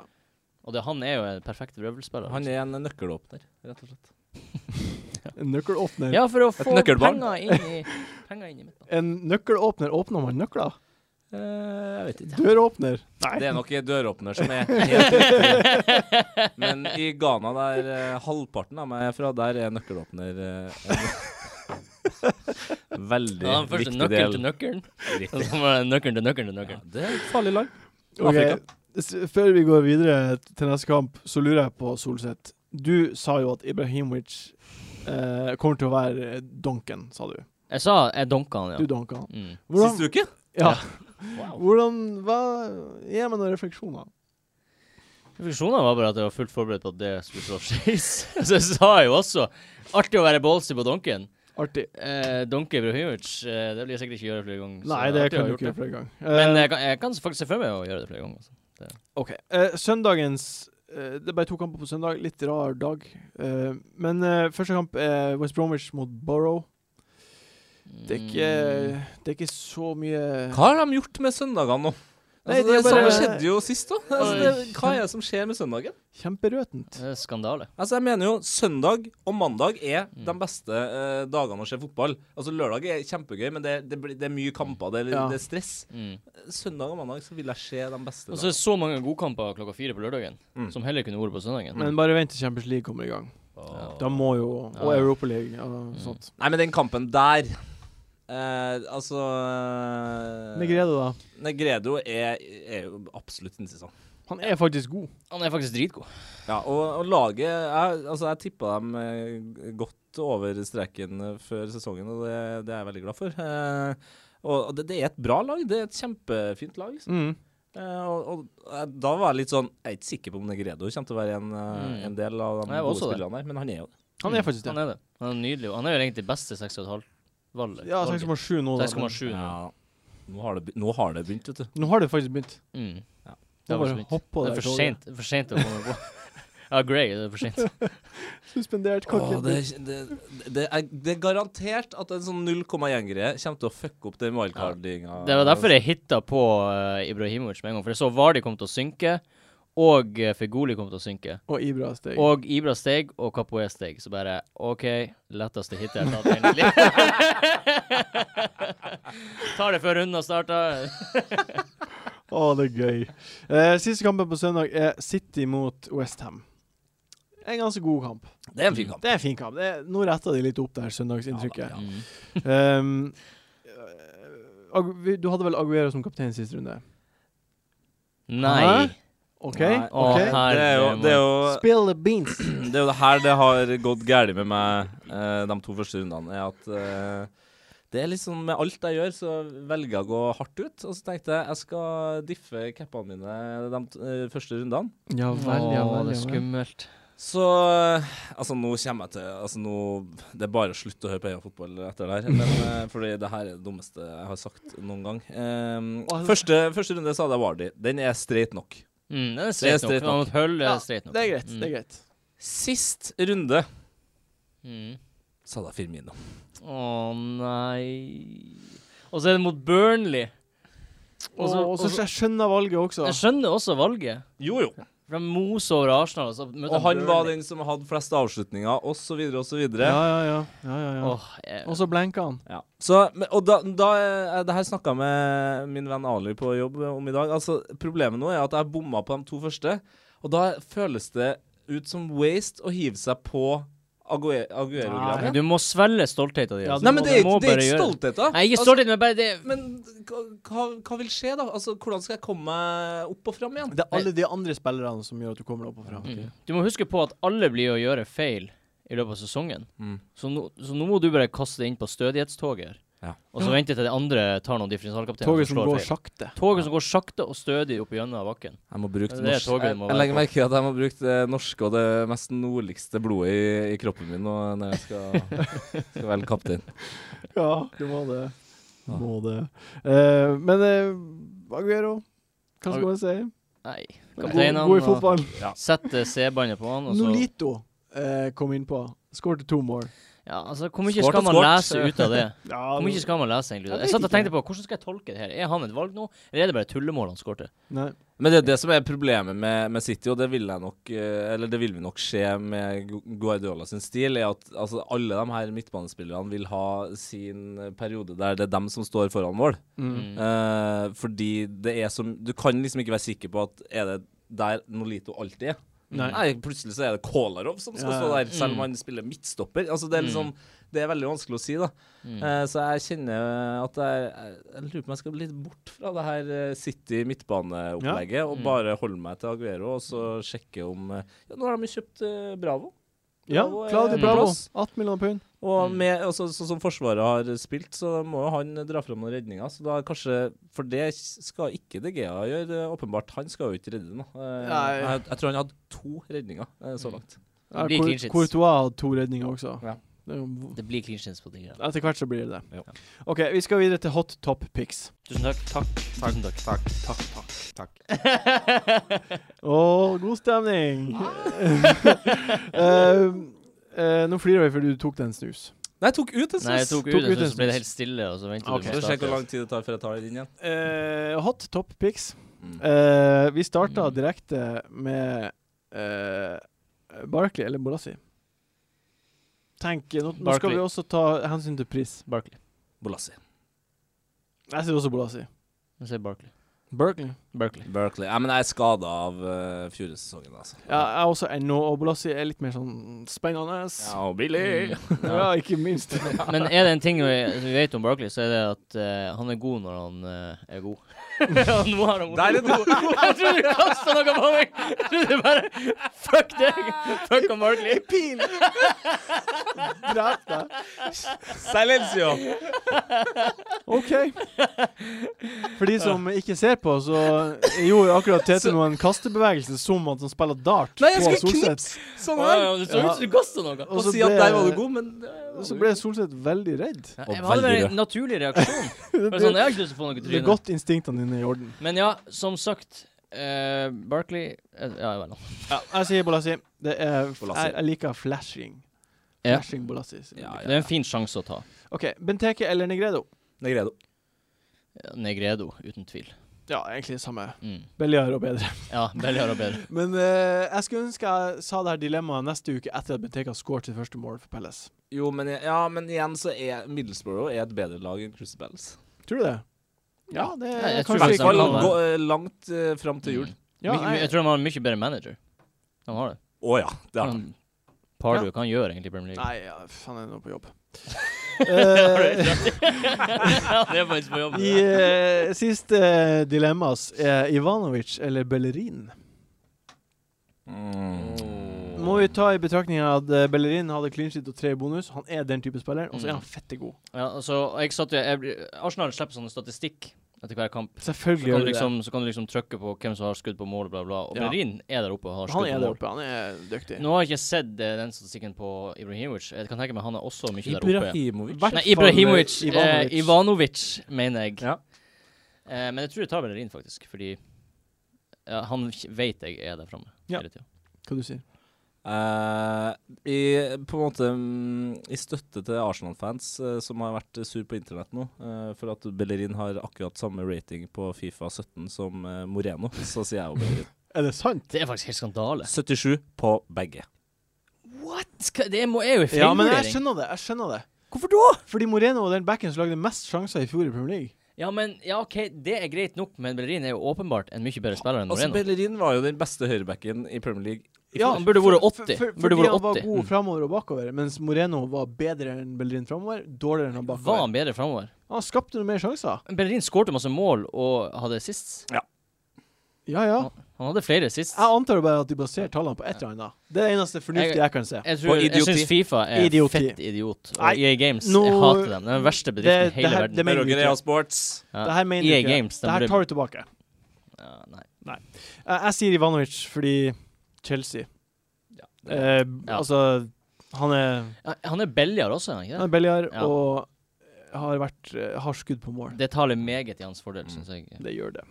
Speaker 3: Og det, han er jo en perfekt vrøvlspiller. altså.
Speaker 2: Han er en nøkkelåpner, rett og slett.
Speaker 1: En nøkkelåpner
Speaker 3: Ja, for å få
Speaker 2: nøkkelbarn.
Speaker 3: penger inn i, penger inn i midtbanen.
Speaker 1: En nøkkelåpner åpner man nøkler?
Speaker 2: Eh, jeg vet ikke.
Speaker 1: Døråpner?
Speaker 2: Det er nok en døråpner som er helt riktig. Men i Ghana, der eh, halvparten av meg er fra, der er nøkkelåpner eh, en veldig
Speaker 3: Ja, den første
Speaker 2: viktig
Speaker 3: nøkkelen
Speaker 2: del.
Speaker 3: til nøkkelen.
Speaker 2: Riktig.
Speaker 3: Og så var det Nøkkelen til nøkkelen til
Speaker 2: Ja,
Speaker 3: nøkkelen.
Speaker 2: det er et farlig lag.
Speaker 1: Ok,
Speaker 2: Afrika.
Speaker 1: s- Før vi går videre til neste kamp, så lurer jeg på Solseth. Du sa jo at Ibrahimovic eh, kommer til å være eh, donken, sa du.
Speaker 3: Jeg sa jeg donka han,
Speaker 1: Du
Speaker 3: ja.
Speaker 1: donka han.
Speaker 3: Mm.
Speaker 1: Hvordan-
Speaker 2: Siste uke?
Speaker 1: Ja.
Speaker 3: Wow.
Speaker 1: Hvordan Hva Gi meg noen refleksjoner.
Speaker 3: Refleksjonen var bare at jeg var fullt forberedt på at det skulle slå skeis. Så jeg sa jo også Artig å være ballsy på donken.
Speaker 1: Artig.
Speaker 3: Eh, Donke Ibrahimovic, eh, det blir jeg sikkert ikke gjøre flere ganger. så
Speaker 1: Nei,
Speaker 3: artig
Speaker 1: det
Speaker 3: å ha
Speaker 1: kan du
Speaker 3: gjort
Speaker 1: ikke gjøre
Speaker 3: det.
Speaker 1: flere ganger.
Speaker 3: Men
Speaker 1: Eh,
Speaker 3: jeg kan, jeg kan faktisk se for meg å gjøre det flere ganger. Altså.
Speaker 1: OK. Eh, søndagens eh, Det er bare to kamper på søndag. Litt rar dag. Eh, men eh, første kamp er West Bromwich mot Borough. Det er ikke
Speaker 3: Mm.
Speaker 1: Det er ikke så mye
Speaker 2: Hva har de gjort med søndagene nå?
Speaker 1: Nei,
Speaker 2: altså,
Speaker 1: de
Speaker 2: det
Speaker 1: er bare-
Speaker 2: samme skjedde jo sist òg. Altså, det- hva er det som skjer med søndagen?
Speaker 1: Kjemperøtent.
Speaker 3: Det er skandale.
Speaker 2: Altså, jeg mener jo søndag og mandag er
Speaker 3: Mm.
Speaker 2: de beste eh, dagene å se fotball. Altså, lørdag er kjempegøy, men det, det, blir- det er mye kamper, det, er-
Speaker 1: Ja.
Speaker 2: det er stress.
Speaker 3: Mm.
Speaker 2: Søndag og mandag så vil jeg se de beste
Speaker 3: Og så er det så mange godkamper klokka fire på lørdagen,
Speaker 2: Mm.
Speaker 3: som heller kunne vært på søndagen.
Speaker 1: Men bare vent til Champions League kommer i gang.
Speaker 2: dagene.
Speaker 1: Da må jo Og
Speaker 3: Ja.
Speaker 1: Europa League og sånt.
Speaker 2: Nei, men den kampen der eh, Altså eh,
Speaker 1: Negredo, da.
Speaker 2: Negredo er, er jo absolutt interessant.
Speaker 1: Han er faktisk god.
Speaker 3: Han er faktisk dritgod.
Speaker 2: Ja, og, og laget jeg, Altså, jeg tippa dem eh, godt over streken eh, før sesongen, og det, det er jeg veldig glad for. Eh, og og det, det er et bra lag. Det er et kjempefint lag. Liksom.
Speaker 1: Mm.
Speaker 2: Eh, og, og eh, da var jeg litt sånn Jeg er ikke sikker på om Negredo kommer til å være en,
Speaker 3: Mm.
Speaker 2: eh, en del av de
Speaker 3: Nei, jeg var
Speaker 2: gode
Speaker 3: også det.
Speaker 2: spillerne der, men han er jo det.
Speaker 1: Han er faktisk
Speaker 3: Mm. Han
Speaker 1: det.
Speaker 3: er det. Han er nydelig. og Han er jo egentlig beste 6,5-valget.
Speaker 1: Ja, 6,7 nå, da. men
Speaker 3: 6,7 nå.
Speaker 2: Nå har, det, be- nå har det begynt, vet du.
Speaker 1: Nå har det faktisk begynt.
Speaker 3: Mm.
Speaker 1: Nå
Speaker 3: Det var så
Speaker 1: bare
Speaker 3: vidt.
Speaker 1: hopp på
Speaker 3: Det
Speaker 1: det.
Speaker 3: er for
Speaker 1: toget.
Speaker 3: sent, for sent å komme på. Ja, Grey, det er for sent.
Speaker 1: Suspendert
Speaker 2: Åh, det,
Speaker 1: kortet.
Speaker 2: det, det, er, det er garantert at en sånn 0,1-greie kommer til å fucke opp den wildcardinga.
Speaker 3: Det var derfor jeg hitta på eh, Ibrahimovic med en gang, for jeg så Vardi kom til å synke, og uh, Fegoli kom til å synke.
Speaker 1: Og Ibra steg.
Speaker 3: Og Ibra steg, og Capoe steg. Så bare OK, letteste hit jeg har tatt egentlig. Tar det før runden har starta.
Speaker 1: Å, det er gøy. Eh, siste kampen på søndag er City mot Westham. En ganske god kamp.
Speaker 2: Det er en fin kamp.
Speaker 1: Det er en fin kamp. Det er, nå retta de litt opp det her søndagsinntrykket.
Speaker 2: Ja,
Speaker 3: Mm.
Speaker 1: Um, eh, Agu- vi- du hadde vel Aguero som kaptein sist runde?
Speaker 3: Nei.
Speaker 1: Hæ? OK?
Speaker 2: Nei,
Speaker 1: ok.
Speaker 3: Å, her-
Speaker 2: Det er jo, det er jo
Speaker 1: Spill the beans.
Speaker 2: Det er jo det her det har gått galt med meg eh, de to første rundene. Er at eh, det er litt sånn med alt jeg gjør, så velger jeg å gå hardt ut. Og så tenkte jeg jeg skal diffe cappene mine de t- eh, første rundene.
Speaker 1: Ja
Speaker 3: Å,
Speaker 1: vel, ja vel.
Speaker 3: det er
Speaker 1: Ja, vel.
Speaker 3: skummelt.
Speaker 2: Så Altså, nå kommer jeg til Altså, nå Det er bare å slutte å høre på Heia Fotball etter det her. Men eh, fordi det her er det dummeste jeg har sagt noen gang. Ehm,
Speaker 1: Åh,
Speaker 2: første, første runde sa jeg Vardy. Den er streit nok.
Speaker 3: Mm, det er streit
Speaker 2: straight
Speaker 3: nok.
Speaker 2: nok.
Speaker 3: Om et hull er
Speaker 1: Ja,
Speaker 3: det streit nok.
Speaker 1: Det er greit.
Speaker 3: Mm.
Speaker 1: det er greit.
Speaker 2: Sist runde
Speaker 3: Mm.
Speaker 2: sa jeg Firmino.
Speaker 3: Å nei Og så er det mot Burnley.
Speaker 1: Og
Speaker 3: Også-
Speaker 1: så jeg skjønner valget også.
Speaker 3: Jeg skjønner også valget.
Speaker 2: Jo, jo.
Speaker 3: For de moser over Arsenal, og så møter de
Speaker 2: Og han var
Speaker 3: Burnley.
Speaker 2: den som hadde flest avslutninger, osv., osv.
Speaker 1: Ja, ja, ja. ja, ja, ja.
Speaker 3: Åh, jeg-
Speaker 1: Og så blenka han.
Speaker 2: Ja. Så, men- og da, da eh, Det her snakka jeg med min venn Ali på jobb om i dag. Altså, Problemet nå er at jeg bomma på de to første. Og da føles det ut som waste å hive seg på
Speaker 3: Nei,
Speaker 2: Ague- Aguero-greiene.
Speaker 3: Du må svelge stoltheten din.
Speaker 1: Ja,
Speaker 3: altså.
Speaker 1: du
Speaker 2: Nei, men
Speaker 1: må-
Speaker 2: det
Speaker 3: du
Speaker 2: er,
Speaker 3: må
Speaker 2: ikke- det er
Speaker 3: bare
Speaker 2: ikke
Speaker 3: gjøre
Speaker 2: stolthet, da.
Speaker 3: Nei, ikke
Speaker 2: Altså,
Speaker 3: stolthet, men bare det
Speaker 2: men hva- hva, hva vil skje, da? Altså, Hvordan skal jeg komme meg opp og fram igjen?
Speaker 1: Det er alle de andre spillerne som gjør at du kommer deg opp og fram.
Speaker 3: Mm. Du må huske på at alle blir å gjøre feil i løpet av sesongen.
Speaker 2: Mm.
Speaker 3: Så, nå- så nå må du bare kaste deg inn på stødighetstoget.
Speaker 2: Ja.
Speaker 3: Og så vente til de andre tar noen differensialkapteiner.
Speaker 1: Toget som går sakte.
Speaker 3: Toget som går sakte og stødig opp gjennom bakken.
Speaker 2: Jeg må bruke
Speaker 3: Det er det
Speaker 2: norsk
Speaker 3: toget
Speaker 2: Jeg,
Speaker 3: du må
Speaker 2: jeg
Speaker 3: være
Speaker 2: legger
Speaker 3: på.
Speaker 2: merke til at jeg må bruke det norske og det mest nordligste blodet i, i kroppen min nå når jeg skal, skal velge kaptein.
Speaker 1: Ja, du må det. Du
Speaker 2: Ja.
Speaker 1: Må det. Eh, men eh, Aguero, hva skal
Speaker 3: Agu-
Speaker 1: man si?
Speaker 3: Nei.
Speaker 1: God,
Speaker 3: Kapteinene
Speaker 1: god i
Speaker 3: og-
Speaker 1: fotball.
Speaker 3: Sette C-båndet på han, og så
Speaker 1: Nolito eh, kom innpå. Skårte to mål.
Speaker 3: Ja, altså, hvor mye
Speaker 2: Skårt
Speaker 3: skal
Speaker 2: og
Speaker 3: man
Speaker 2: skårt.
Speaker 3: lese ut av det?
Speaker 1: Ja,
Speaker 3: Hvor mye skal man lese egentlig ut av
Speaker 1: Jeg
Speaker 3: det? Jeg satt og
Speaker 1: vet ikke.
Speaker 3: tenkte på hvordan skal jeg tolke det her? Er han et valg nå, eller er det bare tullemål han skårte?
Speaker 1: Nei.
Speaker 2: Men det er det som er problemet med, med City, og det vil, jeg nok, eh, eller det vil vi nok skje med Gu- Guardiola sin stil, er at altså, alle de her midtbanespillerne vil ha sin eh, periode der det er dem som står foran mål.
Speaker 3: Mm.
Speaker 2: Eh, fordi det er som Du kan liksom ikke være sikker på at er det der Nolito alltid er.
Speaker 1: Nei.
Speaker 2: Nei, plutselig så er det Kolarov som skal
Speaker 1: Ja, Mm.
Speaker 2: stå
Speaker 1: ja.
Speaker 2: der, selv om han spiller midtstopper. Altså, det er liksom Det er veldig vanskelig å si, da.
Speaker 3: Mm.
Speaker 2: Eh, Så jeg kjenner at jeg, jeg- jeg lurer på om jeg skal bli litt bort fra det her eh, City midtbaneopplegget og
Speaker 3: Mm.
Speaker 2: bare holde meg til Aguero og så sjekke om eh, Ja, nå har de jo kjøpt eh, Bravo.
Speaker 1: Ja,
Speaker 2: Bravo er
Speaker 1: Claudio
Speaker 2: på
Speaker 1: Bravo.
Speaker 2: plass.
Speaker 1: 18 millioner pund.
Speaker 2: Og
Speaker 3: Mm.
Speaker 2: med, også, sånn som Forsvaret har spilt, så må jo han dra fram noen redninger. Så da kanskje For det skal ikke De Gea gjøre, eh, åpenbart. Han skal jo ikke redde noe. Eh,
Speaker 1: Nei.
Speaker 2: Jeg, jeg tror han hadde to redninger eh, så
Speaker 3: Mm.
Speaker 2: langt.
Speaker 1: Ja,
Speaker 3: Det blir
Speaker 1: Cour-
Speaker 3: clean sheets.
Speaker 1: Courtois hadde to redninger også.
Speaker 2: Ja.
Speaker 1: Det er jo-
Speaker 3: Det blir clean shins på de greiene.
Speaker 1: Etter hvert så blir det det.
Speaker 2: Ja.
Speaker 1: OK, vi skal videre til hot top picks.
Speaker 3: Tusen takk. Takk. Tusen takk.
Speaker 4: Takk, takk, takk. takk.
Speaker 1: Å, god stemning! Eh, eh, nå flirer vi fordi du tok den snus.
Speaker 2: Nei, jeg tok ut en
Speaker 3: Nei, jeg
Speaker 2: snus.
Speaker 3: tok
Speaker 1: Tok
Speaker 3: ut
Speaker 1: ut
Speaker 3: den,
Speaker 1: en
Speaker 3: så ble
Speaker 1: snus.
Speaker 3: det helt stille, og så ventet
Speaker 1: Ok.
Speaker 3: du
Speaker 2: Så
Speaker 3: på
Speaker 2: sjekk hvor
Speaker 3: start.
Speaker 2: lang tid det tar før jeg tar den inn igjen.
Speaker 1: Eh, hot top picks.
Speaker 2: Mm.
Speaker 1: Eh, vi starta
Speaker 3: Mm.
Speaker 1: direkte med eh, Barkley eller Bolassi. Tenk, nå, nå skal
Speaker 3: Barkley.
Speaker 1: vi også ta hensyn til pris.
Speaker 3: Barkley.
Speaker 2: Bolassi.
Speaker 1: Jeg sier også Bolassi.
Speaker 3: Jeg sier Barkley.
Speaker 1: Berkeley.
Speaker 3: Barkley.
Speaker 2: Berkeley. Nei, men jeg er skada av uh, fjorårssesongen, altså.
Speaker 1: Ja, jeg er også NO, og Bolassi er litt mer sånn spennende. Ja,
Speaker 2: og billig.
Speaker 1: ikke minst.
Speaker 3: Men er det en ting vi, vi vet om Barkley, så er det at eh, han er god når han eh, er god. Og nå har han
Speaker 2: Der er du god.
Speaker 3: Jeg trodde du kasta noe på meg! Jeg trodde bare Fuck deg! Fuck om Barkley.
Speaker 1: Pil! Drep deg.
Speaker 2: Silencio.
Speaker 1: OK. For de som ikke ser på, så gjorde akkurat Tete nå en kastebevegelse som at han spiller dart
Speaker 2: Nei, jeg
Speaker 1: på
Speaker 2: skulle
Speaker 1: Solseth.
Speaker 2: knipse sånn
Speaker 3: Å,
Speaker 2: her.
Speaker 3: ja, Det så ut som du kasta noe.
Speaker 1: Og
Speaker 2: Og
Speaker 1: så
Speaker 2: si at
Speaker 1: ble-
Speaker 2: der var du god, men eh,
Speaker 1: Så ble Solseth veldig redd.
Speaker 3: Ja,
Speaker 2: Og
Speaker 3: jeg hadde
Speaker 2: veldig
Speaker 3: bare
Speaker 2: rød.
Speaker 3: en naturlig reaksjon. Bare sånn, jeg har ikke lyst til å få noe i
Speaker 1: Det er
Speaker 3: trynet.
Speaker 1: godt instinktene dine er i orden.
Speaker 3: Men ja, som sagt eh, Barkley eh, Ja, vel.
Speaker 1: Jeg sier Bolassi. Det er
Speaker 2: Bolasie.
Speaker 1: Jeg, jeg liker flashing.
Speaker 3: Ja.
Speaker 1: Flashing Bolassi. sier jeg.
Speaker 2: Ja,
Speaker 3: Det er en fin sjanse å ta.
Speaker 1: OK. Benteke eller Negredo?
Speaker 2: Negredo.
Speaker 3: Negredo, uten tvil.
Speaker 1: Ja, egentlig det samme.
Speaker 3: Mm.
Speaker 1: Billigere og bedre.
Speaker 3: Ja, billigere og bedre.
Speaker 1: Men eh, jeg skulle ønske jeg sa det her dilemmaet neste uke etter at Benteke har skåret sitt første mål for Pelles.
Speaker 2: Jo, men, jeg- ja, men igjen så er Middlesbrough er et bedre lag enn Crystal Palace.
Speaker 1: Tror du det? Ja, det er
Speaker 3: Ja, jeg tror
Speaker 1: kanskje
Speaker 2: I hvert
Speaker 3: faktisk
Speaker 2: fall
Speaker 3: han kan
Speaker 1: ikke-
Speaker 3: være.
Speaker 2: gå, eh, langt eh, fram til jul.
Speaker 3: Mm.
Speaker 1: Ja,
Speaker 3: My- my- jeg
Speaker 1: jeg,
Speaker 3: tror han har en mye bedre manager. Han har det.
Speaker 2: Å ja. Det er
Speaker 3: Han- Pardew, hva han gjør egentlig i Premier League?
Speaker 1: nei, ja, f- han er nå på jobb.
Speaker 3: Har du
Speaker 1: Eh,
Speaker 3: rett i? Han er faktisk på jobb.
Speaker 1: I eh, siste dilemmas er Ivanovic eller Bellerin.
Speaker 2: mm.
Speaker 1: Må vi ta i betraktning at eh, Bellerin hadde clean sheet og tre i bonus. Han
Speaker 3: Mm.
Speaker 1: er den type spiller, og så er han fette god.
Speaker 3: Ja, altså, jeg satt jo jeg, blir- Arsenal slipper sånne statistikk etter hver kamp. Så
Speaker 1: Selvfølgelig
Speaker 3: kan,
Speaker 1: gjør
Speaker 3: du
Speaker 1: det.
Speaker 3: liksom, så kan du liksom trykke på hvem som har skudd på mål, bla, bla. Og
Speaker 1: Ja.
Speaker 3: Bellerin er der oppe og har
Speaker 1: Han
Speaker 3: skudd
Speaker 1: er
Speaker 3: på
Speaker 1: der
Speaker 3: mål.
Speaker 1: oppe. Han er dyktig.
Speaker 3: Nå har jeg ikke sett eh, den statistikken på Ibrahimovic. Jeg kan tenke meg han er også mye der oppe.
Speaker 2: Ibrahimovic.
Speaker 1: Hvert
Speaker 3: Nei, Ibrahimovic.
Speaker 1: fall, eh,
Speaker 3: Ivanovic, eh, Ivanovic mener jeg.
Speaker 2: Ja.
Speaker 3: Eh, men jeg tror jeg tar Bellerin, faktisk. Fordi ja, han vet jeg er der framme
Speaker 1: Ja.
Speaker 3: hele tida.
Speaker 1: Hva du sier
Speaker 2: Eh, i, på en måte mm, I støtte til Arsenal-fans eh, som har vært eh, sur på internett nå eh, for at Bellerin har akkurat samme rating på Fifa 17 som eh, Moreno, så sier jeg jo Bellerin.
Speaker 1: Er det sant?
Speaker 3: Det er faktisk helt skandale.
Speaker 2: 77 på begge.
Speaker 3: What?! Hva- Det må er jo en
Speaker 1: Ja, men jeg
Speaker 3: feilvurdering.
Speaker 1: skjønner det. jeg skjønner det
Speaker 2: Hvorfor da?
Speaker 1: Fordi Moreno var den backen som lagde mest sjanser i fjor i Premier League.
Speaker 3: Ja, men ja, OK, det er greit nok, men Bellerin er jo åpenbart en mye bedre spiller enn
Speaker 2: Altså,
Speaker 3: Moreno.
Speaker 2: Bellerin var jo den beste høyrebacken i Premier League.
Speaker 1: Ja,
Speaker 3: Han burde vært
Speaker 1: for- for-
Speaker 3: 80.
Speaker 1: for-
Speaker 3: Burde
Speaker 1: fordi
Speaker 3: vært Mm.
Speaker 1: han var
Speaker 3: 80.
Speaker 1: god framover og bakover, mens Moreno var bedre enn Bellerin framover. Dårligere enn han
Speaker 3: Var
Speaker 1: bakover.
Speaker 3: han bedre framover?
Speaker 1: Han skapte noen mer sjanser.
Speaker 3: Bellerin skårte masse mål og hadde assists.
Speaker 1: Ja, ja.
Speaker 3: Han- Han hadde flere assists.
Speaker 1: Jeg antar bare at de baserer tallene på et eller annet. Det er det eneste fornuftige jeg kan se.
Speaker 3: Jeg,
Speaker 2: På
Speaker 3: tror- jeg
Speaker 2: idioti.
Speaker 3: syns Fifa er
Speaker 1: Idioti.
Speaker 3: fett idiot. Og
Speaker 1: Nei,
Speaker 3: EA Games,
Speaker 1: nå-
Speaker 3: jeg hater dem. Det er den verste bedriften
Speaker 1: Det-
Speaker 3: i hele
Speaker 1: det her-
Speaker 3: verden.
Speaker 1: det mener vi
Speaker 2: Roger
Speaker 1: ikke.
Speaker 2: Ea Sports.
Speaker 3: ja.
Speaker 1: Det her mener
Speaker 3: EA
Speaker 1: du ikke.
Speaker 3: E Games, de
Speaker 1: Det her
Speaker 3: burde-
Speaker 1: tar du tilbake.
Speaker 3: ja, nei.
Speaker 1: Jeg, jeg sier Ivanovic fordi Chelsea eh,
Speaker 3: Ja.
Speaker 1: Altså, han er,
Speaker 3: Ja, Han er billigere også, er han
Speaker 1: han
Speaker 3: ikke
Speaker 1: er billigere
Speaker 3: Ja.
Speaker 1: og har, vært, eh, har skudd på mål.
Speaker 3: det? Det taler meget i hans fordel,
Speaker 2: Mm.
Speaker 3: syns jeg.
Speaker 1: Det gjør det.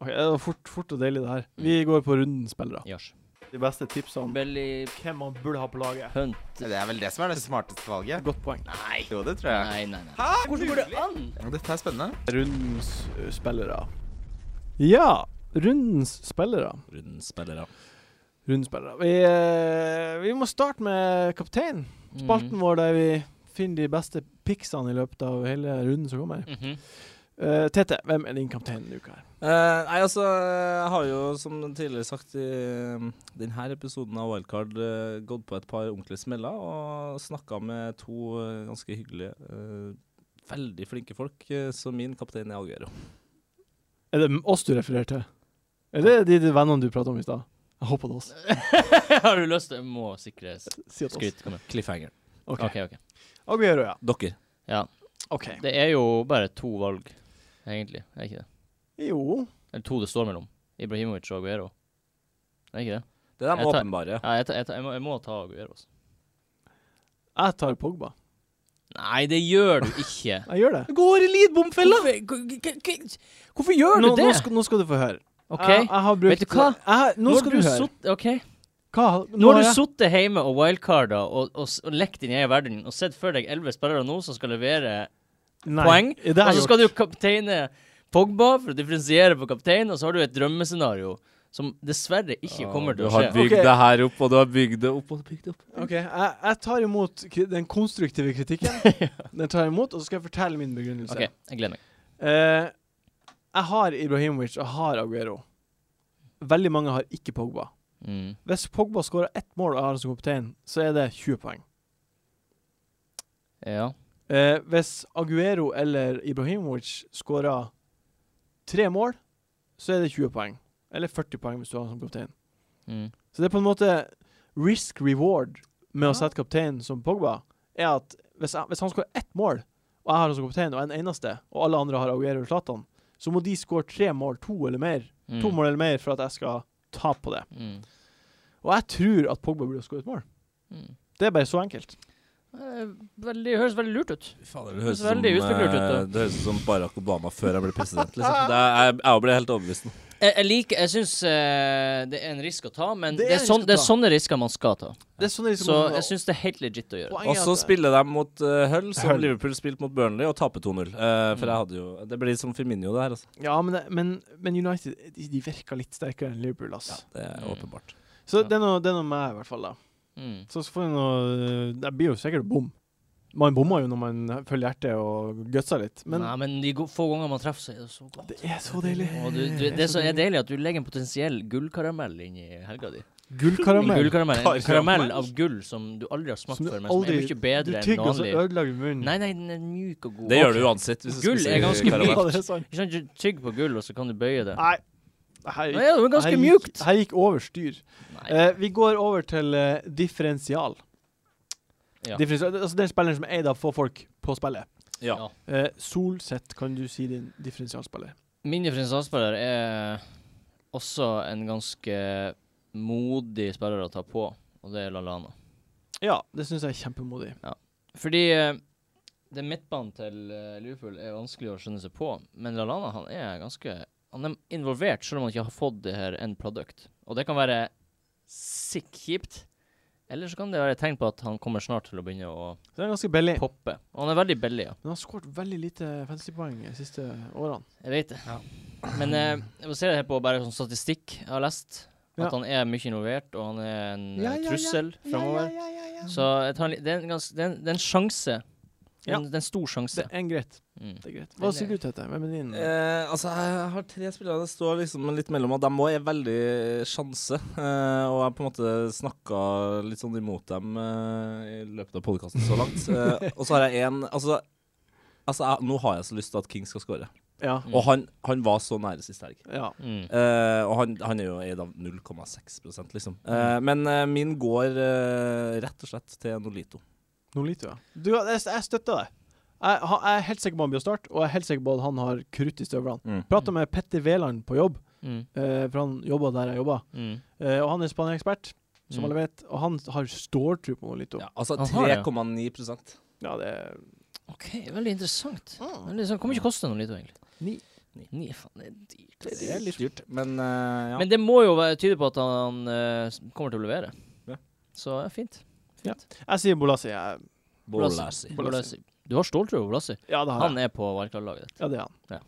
Speaker 1: Ok, Det var fort, fort og deilig, det her. Vi går på runden spillere.
Speaker 3: Gjørs.
Speaker 1: De beste tipsene
Speaker 3: Belly
Speaker 1: hvem man burde ha på laget.
Speaker 3: Hunt
Speaker 4: Det er vel det som er det smarteste valget.
Speaker 1: Godt poeng.
Speaker 3: Nei.
Speaker 4: Jo, det tror jeg.
Speaker 3: Nei, nei, nei. Hvordan går det an?
Speaker 4: Dette er spennende.
Speaker 1: Rundens eh, spillere. Ja, rundens spillere.
Speaker 2: Rundens spillere.
Speaker 1: Rundens spillere. Vi, eh, vi må starte med kapteinen. Spalten vår der vi finner de beste picksene i løpet av hele runden som kommer.
Speaker 3: Mhm.
Speaker 1: Eh, Tete, hvem er din kaptein denne uka? her?
Speaker 2: Eh, nei, altså, jeg har jo som tidligere sagt i eh, denne episoden av Wildcard eh, gått på et par ordentlige smeller og snakka med to eh, ganske hyggelige, eh, veldig flinke folk, eh, så min kaptein er Algero.
Speaker 1: Er det oss du refererer til? Er det de, de vennene du pratet om i stad? Jeg håper det er oss.
Speaker 3: Har du lyst til Må sikre s-
Speaker 1: Si at oss.
Speaker 3: skryt. Kom igjen.
Speaker 2: Cliffhanger.
Speaker 1: OK.
Speaker 3: OK, OK.
Speaker 1: Aguero, ja.
Speaker 2: Dere.
Speaker 3: Ja.
Speaker 1: OK.
Speaker 3: Det er jo bare to valg, egentlig. Er det ikke det?
Speaker 1: Jo.
Speaker 3: Eller to det står mellom. Ibrahimovic og Aguero. Er det ikke det?
Speaker 2: Det er de
Speaker 3: Jeg tar-
Speaker 2: åpenbare.
Speaker 3: Ja, jeg, ta, jeg, ta, jeg, må, jeg må ta Aguero. Altså.
Speaker 1: Jeg tar Pogba.
Speaker 3: Nei, det gjør du ikke.
Speaker 1: Jeg gjør det.
Speaker 2: Du går i lidbomfella!
Speaker 3: Hvorfor gjør
Speaker 1: Nå, nå, skal, nå skal du få høre.
Speaker 3: OK.
Speaker 1: Jeg, jeg har brukt
Speaker 3: Vet du hva?
Speaker 1: Jeg, har- nå
Speaker 3: Når
Speaker 1: skal
Speaker 3: du
Speaker 1: du, høre.
Speaker 3: sutt- ok.
Speaker 1: hva?
Speaker 3: Nå har du
Speaker 1: jeg-
Speaker 3: sittet hjemme og wildcarda og, og, s- og lekt din egen verden og sett for deg elleve spillere nå som skal levere
Speaker 1: Nei,
Speaker 3: poeng,
Speaker 1: det
Speaker 3: og
Speaker 1: har
Speaker 3: så
Speaker 1: jeg
Speaker 3: skal du
Speaker 1: gjort.
Speaker 3: kapteine Pogba for å differensiere på kapteinen, og så har du et drømmescenario som dessverre ikke kommer til å
Speaker 2: Du har
Speaker 3: skje.
Speaker 2: bygd
Speaker 1: Ok.
Speaker 2: det her opp, og du har bygd det opp og bygd det opp.
Speaker 1: Ok, jeg, jeg tar imot kri- den konstruktive kritikken. Den tar jeg imot, og så skal jeg fortelle min begrunnelse.
Speaker 3: OK, jeg gleder meg.
Speaker 1: Eh, jeg har Ibrahimovic og har Aguero. Veldig mange har ikke Pogba.
Speaker 3: Mm.
Speaker 1: Hvis Pogba skårer ett mål og jeg har han som kaptein, så er det 20 poeng.
Speaker 3: Ja.
Speaker 1: Eh, hvis Aguero eller Ibrahimovic skårer tre mål, så er det 20 poeng. Eller 40 poeng hvis du har han som kaptein.
Speaker 3: Mm.
Speaker 1: Så det er på en måte risk reward med å sette kapteinen som Pogba, er at hvis, jeg, hvis han skårer ett mål, og jeg har han som kaptein og er den eneste, og alle andre har Aguero og Zlatan, så må de skåre tre mål, to eller mer,
Speaker 3: Mm.
Speaker 1: to mål eller mer for at jeg skal tape på det.
Speaker 3: Mm.
Speaker 1: Og jeg tror at Pogba burde skåre et mål.
Speaker 3: Mm.
Speaker 1: Det er bare så enkelt.
Speaker 3: Eh, Veldig, høres veldig lurt ut.
Speaker 2: Fader,
Speaker 3: høres veldig utspekulert ut, da.
Speaker 2: eh, det høres ut som Barack Obama før han ble president. Liksom. Det er, jeg, jeg ble helt overbevist nå.
Speaker 3: Jeg, jeg liker Jeg syns det er en risk å ta, men
Speaker 1: Det
Speaker 3: det
Speaker 1: er
Speaker 3: er,
Speaker 1: en
Speaker 3: sånn,
Speaker 1: risk å
Speaker 3: det er
Speaker 1: ta.
Speaker 3: sånne risker man skal ta.
Speaker 1: Det er sånn det liksom
Speaker 3: Så jeg syns det er helt legit å gjøre.
Speaker 1: Poenget
Speaker 2: Og
Speaker 1: er
Speaker 2: så
Speaker 1: at-
Speaker 2: spiller de mot eh, Hull, som
Speaker 1: Hull.
Speaker 2: Liverpool spilte mot Burnley, og taper 2-0. Eh, for
Speaker 3: Mm.
Speaker 2: jeg hadde jo Det blir som Firmino, det her. Altså.
Speaker 1: Ja, men, det- men, men United de, de virker litt sterkere enn Liverpool. Ass.
Speaker 2: Det er
Speaker 3: Mm.
Speaker 2: åpenbart.
Speaker 1: Så
Speaker 3: Ja.
Speaker 1: det er noe, det er noe meg, i hvert fall. da
Speaker 3: Mm.
Speaker 1: Så får jeg noe Det blir jo sikkert bom. Man bommer jo når man følger hjertet og gutser litt, men
Speaker 3: Nei, men de go- få ganger man treffer, så er det så godt.
Speaker 1: det er så deilig.
Speaker 3: Og du, du, det som er deilig, er at du legger en potensiell gullkaramell inn i helga di. En
Speaker 1: Gullkaramell.
Speaker 3: gullkaramell, en
Speaker 4: Karamell?
Speaker 3: karamell av gull som du aldri har smakt
Speaker 1: Som du
Speaker 3: før, men
Speaker 1: aldri-
Speaker 3: som er mye
Speaker 1: Du
Speaker 3: bedre enn
Speaker 1: tygger, og så
Speaker 3: vanlig.
Speaker 1: ødelegger du munnen.
Speaker 3: Nei, nei, den er mjuk og god.
Speaker 2: Det gjør
Speaker 3: Ok.
Speaker 2: du uansett. Hvis du
Speaker 3: Gull
Speaker 2: spiser
Speaker 3: er ganske
Speaker 2: karamell.
Speaker 1: Ja, det er sant.
Speaker 3: Ikke sant, du tygger på gull, og så kan du bøye det.
Speaker 1: Nei. det Her
Speaker 3: Nei, det var ganske
Speaker 1: her gikk-
Speaker 3: mjukt.
Speaker 1: Her gikk over styr.
Speaker 3: Nei.
Speaker 1: Eh, vi går over til eh, differensial.
Speaker 3: Ja.
Speaker 1: differensial. Altså den spilleren som er eid av få folk på spillet.
Speaker 2: Ja.
Speaker 3: Ja.
Speaker 1: Eh, Solseth, kan du si din differensialspiller?
Speaker 3: Min differensialspiller er også en ganske modig spiller å ta på, og det er Lallana.
Speaker 1: Ja, det syns jeg er kjempemodig.
Speaker 3: Fordi eh, den midtbanen til eh, Liverpool er vanskelig å skjønne seg på, men Lallana han er ganske Han er involvert, selv om han ikke har fått det her end product. Og det kan være sick kjipt, eller så kan det være et tegn på at han kommer snart til å begynne å
Speaker 1: Så det er ganske billig.
Speaker 3: poppe. Og han er veldig billig, ja.
Speaker 1: Men han har skåret veldig lite fantasypoeng de siste årene.
Speaker 3: Jeg vet det. Men eh, jeg baserer det her på bare sånn statistikk jeg har lest. At
Speaker 1: Ja.
Speaker 3: han er mye involvert, og han er en eh, trussel framover. Så jeg tar en, li- det, er en gans, det, er en, det er en sjanse. Det er
Speaker 1: Ja.
Speaker 3: en, det er en stor
Speaker 1: Det
Speaker 3: sjanse.
Speaker 1: er en greit.
Speaker 3: Mm.
Speaker 1: Det er greit. Hva
Speaker 3: Den
Speaker 1: sier
Speaker 3: er-
Speaker 1: du til dette? Hvem er din?
Speaker 2: Eh, altså, jeg har tre spillere det står liksom litt mellom, og de òg er veldig sjanse. Eh, og jeg på en måte snakka litt sånn imot dem eh, i løpet av podkasten så langt. Eh, og så har jeg én Altså, altså jeg, nå har jeg så lyst til at King skal skåre.
Speaker 1: Ja.
Speaker 3: Mm.
Speaker 2: Og han, han var så nære sist helg.
Speaker 1: ja.
Speaker 3: Mm.
Speaker 2: Eh, og han, han er jo eid av 0,6 liksom. Eh, men eh, min går eh, rett og slett til Nolito.
Speaker 1: Nolito, ja. Du, jeg, jeg støtter deg. Jeg, han- jeg er helt sikker på han blir å starte, og jeg er helt sikker på at han har krutt i støvlene.
Speaker 2: Mm.
Speaker 1: Prata med Petter Wæland på jobb,
Speaker 3: Mm.
Speaker 1: eh, for han jobber der jeg jobber.
Speaker 3: Mm.
Speaker 1: Eh, og han er Spania-ekspert, som
Speaker 3: Mm.
Speaker 1: alle vet, og han har ståltro på Nolito.
Speaker 2: Ja, altså
Speaker 3: Han har det, ja.
Speaker 2: 3,9 prosent.
Speaker 1: Ja, det er
Speaker 3: OK, veldig interessant. Veldig sånn, Kommer ikke koste noe lite, egentlig.
Speaker 1: Ni.
Speaker 3: Ni. Ni, faen, det er dyrt. ass.
Speaker 2: Det er litt dyrt, men eh, ja.
Speaker 3: Men det må jo være tyde på at han eh, s- kommer til å levere.
Speaker 2: Ja.
Speaker 3: Så ja, fint.
Speaker 1: Jeg sier Bolassi. Jeg,
Speaker 2: Borlassi.
Speaker 1: Bolasie.
Speaker 3: Bolasie. Du har ståltro på Blassi.
Speaker 1: ja, det har jeg.
Speaker 3: Han er på wildcard-laget ditt.
Speaker 1: Ja, det er han.
Speaker 3: Ja.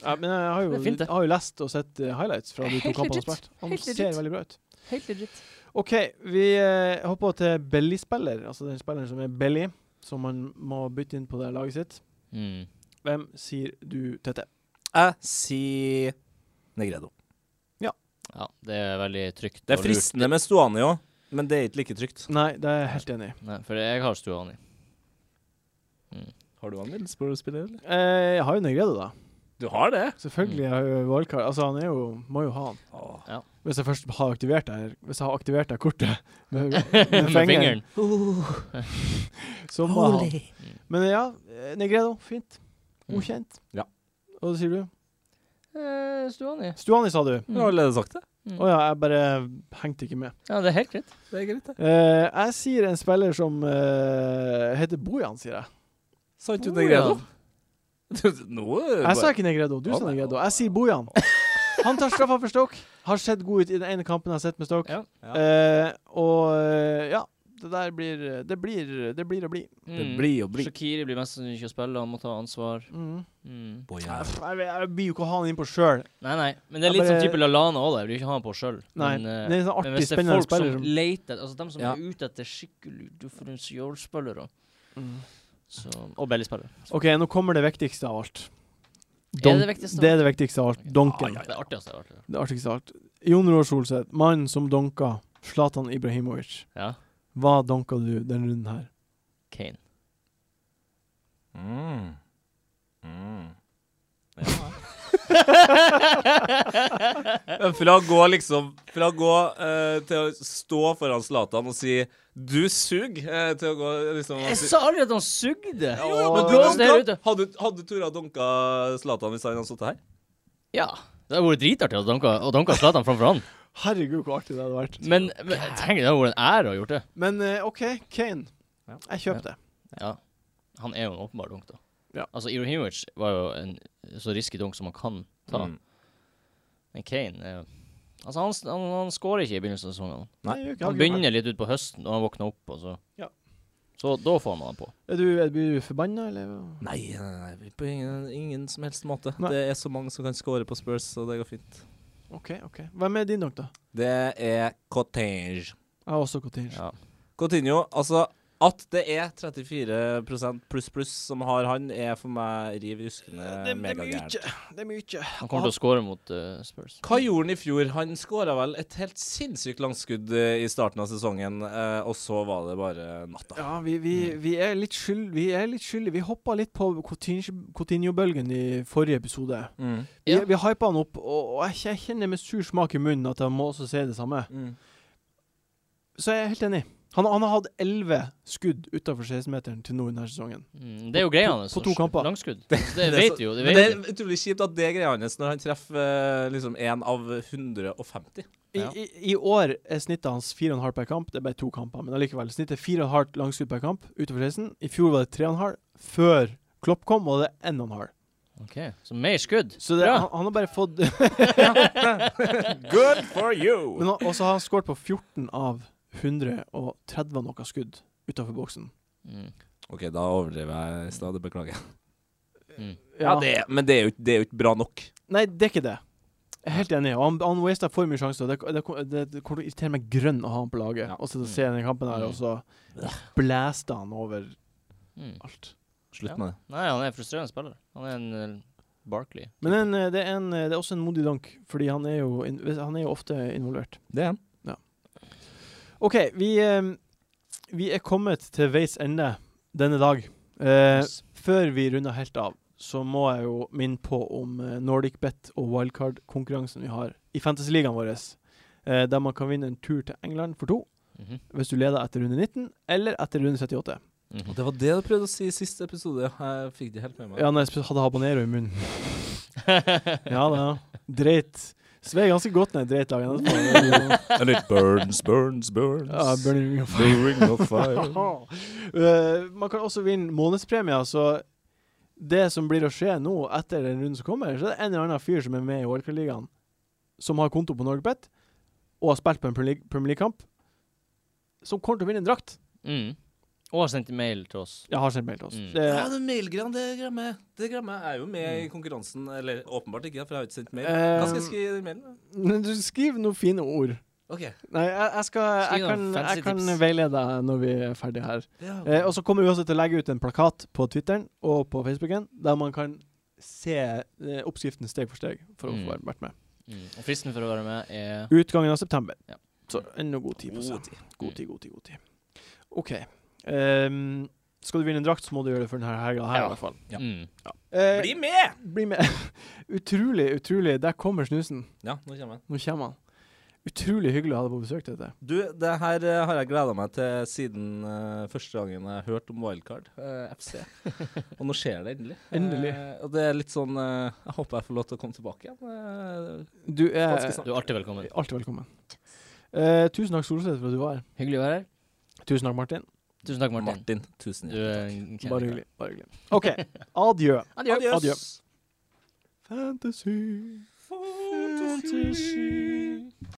Speaker 1: Ja, men jeg har jo,
Speaker 3: Det er fint, det.
Speaker 1: jeg har jo lest og sett eh, highlights fra de to
Speaker 3: Helt
Speaker 1: kampene han
Speaker 3: legit.
Speaker 1: har spilt. Han
Speaker 3: Helt
Speaker 1: ser
Speaker 3: legit.
Speaker 1: veldig bra ut.
Speaker 3: Helt legit.
Speaker 1: OK, vi eh, hopper til Belly-spiller, altså den spilleren som er Belly, som man må bytte inn på det laget sitt.
Speaker 3: Mm.
Speaker 1: Hvem sier du, Tete?
Speaker 2: Jeg sier Negredo.
Speaker 3: Ja, det er veldig trygt.
Speaker 2: Det er
Speaker 3: og lurt.
Speaker 2: fristende med Stuani òg, men det er ikke like trygt.
Speaker 1: Nei, det er jeg helt enig i.
Speaker 3: Nei, for jeg har Stuani.
Speaker 2: Har du han Middlesbrough-spiller, eller?
Speaker 1: Eh, jeg har jo Negredo, da.
Speaker 2: Du har det?
Speaker 1: Selvfølgelig.
Speaker 3: Mm.
Speaker 1: Jeg har jo valgkar. Altså, han er jo Må jo ha han. Hvis jeg først har aktivert det her Hvis jeg har aktivert det kortet med, med fingeren, så må jeg ha han. Men ja, eh, Negredo. Fint.
Speaker 3: Mm.
Speaker 1: Godkjent.
Speaker 2: Ja.
Speaker 1: Og hva sier du?
Speaker 3: Eh, Stuani.
Speaker 1: Stuani, sa du.
Speaker 2: Du har allerede sagt det.
Speaker 1: Å ja, jeg bare hengte ikke med.
Speaker 3: Ja, det er helt greit.
Speaker 2: Det er greit, det.
Speaker 1: Eh, jeg sier en spiller som eh, heter Bojan, sier jeg.
Speaker 2: Sa ikke du
Speaker 3: Bojan.
Speaker 2: Negredo? Nå er det
Speaker 1: Jeg sa
Speaker 2: bare-
Speaker 1: ikke Negredo, du
Speaker 2: Å,
Speaker 1: sa
Speaker 2: nei.
Speaker 1: Negredo. Jeg sier Bojan. Han tar straffa for Stoke. Har sett god ut i den ene kampen jeg har sett med Stoke.
Speaker 3: Ja.
Speaker 2: Ja.
Speaker 1: Eh, og eh, ja, det der blir Det blir det blir å bli.
Speaker 2: Det blir og blir.
Speaker 3: Mm. Shakiri blir mest sannsynlig ikke å spille, han må ta ansvar.
Speaker 1: Mm.
Speaker 3: Mm.
Speaker 1: Jeg, jeg, jeg blir jo ikke å ha han innpå sjøl.
Speaker 3: Nei, nei. Men det
Speaker 1: Jeg
Speaker 3: er litt sånn
Speaker 1: bare-
Speaker 3: type Lallana òg, jeg vil jo ikke ha han på sjøl.
Speaker 1: Nei.
Speaker 3: Men, eh,
Speaker 1: det er en sånn
Speaker 3: men
Speaker 1: artig,
Speaker 3: hvis det er
Speaker 1: spennende
Speaker 3: folk
Speaker 1: spiller
Speaker 3: som
Speaker 1: som
Speaker 3: leter Altså dem som
Speaker 2: Ja.
Speaker 3: er ute etter skikkelig differensialspillere,
Speaker 1: Mm.
Speaker 3: så Og Belly-spillere.
Speaker 1: OK, nå kommer det viktigste av alt.
Speaker 3: Er det det viktigste?
Speaker 1: Det er det viktigste av alt.
Speaker 3: Ok.
Speaker 1: Donken.
Speaker 3: Det er artigste jeg har vært
Speaker 1: Det artigste av alt. Jon Roar Solseth, mannen som donka Zlatan Ibrahimovic.
Speaker 3: Ja.
Speaker 1: Hva donka du denne runden her?
Speaker 3: Kane.
Speaker 2: Mm. Mm. Men Fra å gå liksom Fra å gå eh, til å stå foran Zlatan og si 'du sug', eh, til å gå liksom og
Speaker 3: Jeg
Speaker 2: si-
Speaker 3: sa aldri at han sugde!
Speaker 2: Jo, jo,
Speaker 3: Åh.
Speaker 2: men Donka-
Speaker 3: Blås det her ute.
Speaker 2: Hadde, hadde Tora dunka Zlatan hvis han hadde sittet her?
Speaker 3: Ja. Det hadde vært dritartig å danke, å danke Zlatan framfor han.
Speaker 1: Herregud, hvor artig det hadde vært.
Speaker 3: Men, men tenk, det hadde vært en ære å ha gjort det.
Speaker 1: Men eh, OK, Kane.
Speaker 2: Ja.
Speaker 1: Jeg kjøper det.
Speaker 3: Ja. Han er jo en åpenbar dunk, da.
Speaker 1: Ja.
Speaker 3: Altså, Ibrahimovic var jo en så risky dunk som man kan ta.
Speaker 2: Mm.
Speaker 3: Men Kane er jo Altså, han, han, han skårer ikke i begynnelsen av sesongen.
Speaker 2: Nei.
Speaker 1: Jeg gjør ikke- jeg har
Speaker 3: Han
Speaker 1: ikke
Speaker 3: begynner litt utpå høsten, og han våkner opp, og så
Speaker 1: Ja.
Speaker 3: Så da får man han på.
Speaker 1: vært. Er du, er, blir du forbanna, eller?
Speaker 2: Nei, nei, nei, på ingen, ingen som helst måte.
Speaker 1: Nei.
Speaker 2: Det er så mange som kan score på Spurs, så det går fint.
Speaker 1: OK, OK. Hvem er din dunk, da?
Speaker 2: Det er Cottage.
Speaker 1: Jeg har også Coutinho.
Speaker 3: Ja.
Speaker 2: Coutinho, altså at det er 34 pluss pluss som har han, er for meg riv ruskende megagærent.
Speaker 1: Det er mye.
Speaker 3: eh, Han kommer til å skåre mot eh, Spurs.
Speaker 2: Hva gjorde han i fjor? Han skåra vel et helt sinnssykt langskudd eh, i starten av sesongen, eh, og så var det bare natta.
Speaker 1: Ja, vi, vi,
Speaker 3: Mm.
Speaker 1: vi er litt skyld- vi er litt skyldige. Vi hoppa litt på Coutinho- Coutinho-bølgen i forrige episode.
Speaker 2: Mm.
Speaker 1: Vi,
Speaker 3: Ja.
Speaker 1: vi hypa han opp, og, og jeg kje- jeg kjenner med sur smak i munnen at jeg må også si det samme.
Speaker 2: Mm.
Speaker 1: Så jeg er helt enig. Han, han har hatt elleve skudd utafor 16-meteren til nå i denne sesongen.
Speaker 3: Mm, det er jo greia hans.
Speaker 1: på to
Speaker 3: å skyte
Speaker 1: kamper.
Speaker 3: Langskudd. Det,
Speaker 2: er
Speaker 3: vet
Speaker 2: så-
Speaker 3: du jo. Det
Speaker 2: Men
Speaker 3: vet
Speaker 2: det er
Speaker 3: du.
Speaker 2: utrolig kjipt at det er greia hans når han treffer eh, liksom én av
Speaker 1: I,
Speaker 2: 150. Ja.
Speaker 1: i, I år er snittet hans fire og en halv per kamp. Det er bare to kamper, men allikevel. Snittet fire og en halv langskudd per kamp utover 16. I fjor var det tre og en halv. Før Klopp kom, var det én og en halv.
Speaker 3: Ok, Så mer skudd.
Speaker 1: Så det,
Speaker 3: Bra.
Speaker 1: han, han har bare fått
Speaker 2: Good for you!
Speaker 1: Men han, også har han skåret på 14 av 130 noe skudd utafor boksen.
Speaker 3: Mm.
Speaker 2: OK, da overdriver jeg i stad. det Beklager.
Speaker 3: Mm.
Speaker 2: Ja, det, men det er, jo, ikke- det er jo ikke bra nok.
Speaker 1: Nei, det er ikke det. Jeg er helt enig. Og han, han wasta for mye sjanser. og Det, det, det, det kommer til å irritere meg grønn å ha han på laget.
Speaker 2: Ja.
Speaker 1: Og sitte og se den kampen her,
Speaker 3: Mm.
Speaker 1: og så blæste han over
Speaker 3: Mm.
Speaker 1: alt.
Speaker 2: Slutt
Speaker 3: Ja.
Speaker 2: med det.
Speaker 3: Nei, han er en frustrerende spiller. Han er en eh, Barkley.
Speaker 1: Men en, eh, det, er en, eh, det er også en modig dank, fordi han er jo, in, han er jo ofte involvert.
Speaker 2: Det er han.
Speaker 1: OK, vi, eh, vi er kommet til veis ende denne dag. Eh,
Speaker 3: Yes.
Speaker 1: Før vi runder helt av, så må jeg jo minne på om eh, Nordic Bet og wildcard-konkurransen vi har i Fantasyligaen vår, eh, der man kan vinne en tur til England for to
Speaker 3: Mhm.
Speaker 1: hvis du leder etter runde 19 eller etter runde 78.
Speaker 3: Mhm.
Speaker 2: Og det var det du prøvde å si i siste episode. Jeg fikk det helt med meg.
Speaker 1: Ja, når jeg sp- hadde habanero i munnen. ja da. Dreit. Svei ganske godt når jeg dreit dagen etterpå.
Speaker 2: And it burns, burns, burns.
Speaker 1: Ja, burning of
Speaker 2: Burning of fire.
Speaker 1: Eh, man kan også vinne månedspremier, så det som blir å skje nå, etter den runden som kommer, så er det en eller annen fyr som er med i Wildcard-ligaen, som har konto på NorgeBet, og har spilt på en Premier League- Premier League-kamp, som kommer til å vinne en drakt.
Speaker 3: Mm. Og har sendt mail til oss.
Speaker 1: Jeg har sendt mail til oss.
Speaker 3: Mm.
Speaker 1: Det,
Speaker 2: Ja, det mailgreiene, det glemmer jeg. Det glemmer jeg. Jeg er jo med i konkurransen. Eller åpenbart ikke, for jeg har ikke sendt mail. Hva skal jeg skrive i den mailen? da?
Speaker 1: Men du skriver noen fine ord.
Speaker 2: OK.
Speaker 1: Nei, jeg, jeg skal
Speaker 3: Skriv
Speaker 1: Jeg kan,
Speaker 3: noen fancy
Speaker 1: jeg kan
Speaker 3: tips.
Speaker 1: veilede deg når vi er ferdige her.
Speaker 2: Ja, ok.
Speaker 1: Eh, og så kommer vi også til å legge ut en plakat på Twitteren og på Facebooken, der man kan se eh, oppskriften steg for steg for å
Speaker 3: Mm.
Speaker 1: få være- vært med.
Speaker 3: Mm. Og fristen for å være med er
Speaker 1: Utgangen av september.
Speaker 3: Ja.
Speaker 1: Så ennå god tid på
Speaker 2: God
Speaker 1: seg.
Speaker 2: tid.
Speaker 1: God tid, god tid, god tid. OK. Ehm, skal du vinne en drakt, så må du gjøre det for denne helga her,
Speaker 3: Ja.
Speaker 1: i hvert fall.
Speaker 2: Ja.
Speaker 3: mm.
Speaker 1: Eh,
Speaker 2: Bli med!
Speaker 1: bli med. utrolig, utrolig. Der kommer snusen.
Speaker 2: Ja, nå kommer jeg.
Speaker 1: Nå kommer han. Utrolig hyggelig å ha deg på besøk. Dette.
Speaker 2: Du, det her eh, har jeg gleda meg til siden eh, første gangen jeg hørte om Wildcard eh, FC. og nå skjer det endelig.
Speaker 1: Endelig.
Speaker 2: Eh, og det er litt sånn eh, Jeg håper jeg får lov til å komme tilbake igjen. eh,
Speaker 1: Du er
Speaker 2: Ganske snart.
Speaker 3: Du er artig velkommen.
Speaker 1: alltid velkommen. Eh, tusen takk, Solseth, for at du var her.
Speaker 3: Hyggelig å være her.
Speaker 1: Tusen takk, Martin.
Speaker 3: Tusen takk, Martin.
Speaker 2: Martin, tusen
Speaker 3: Du er
Speaker 2: hjertelig takk.
Speaker 3: en
Speaker 1: Bare
Speaker 3: kjærlig
Speaker 1: hyggelig. Bare hyggelig. OK. Adjø.
Speaker 2: Adjøs.
Speaker 1: Adjø. Fantasy. Fantasy.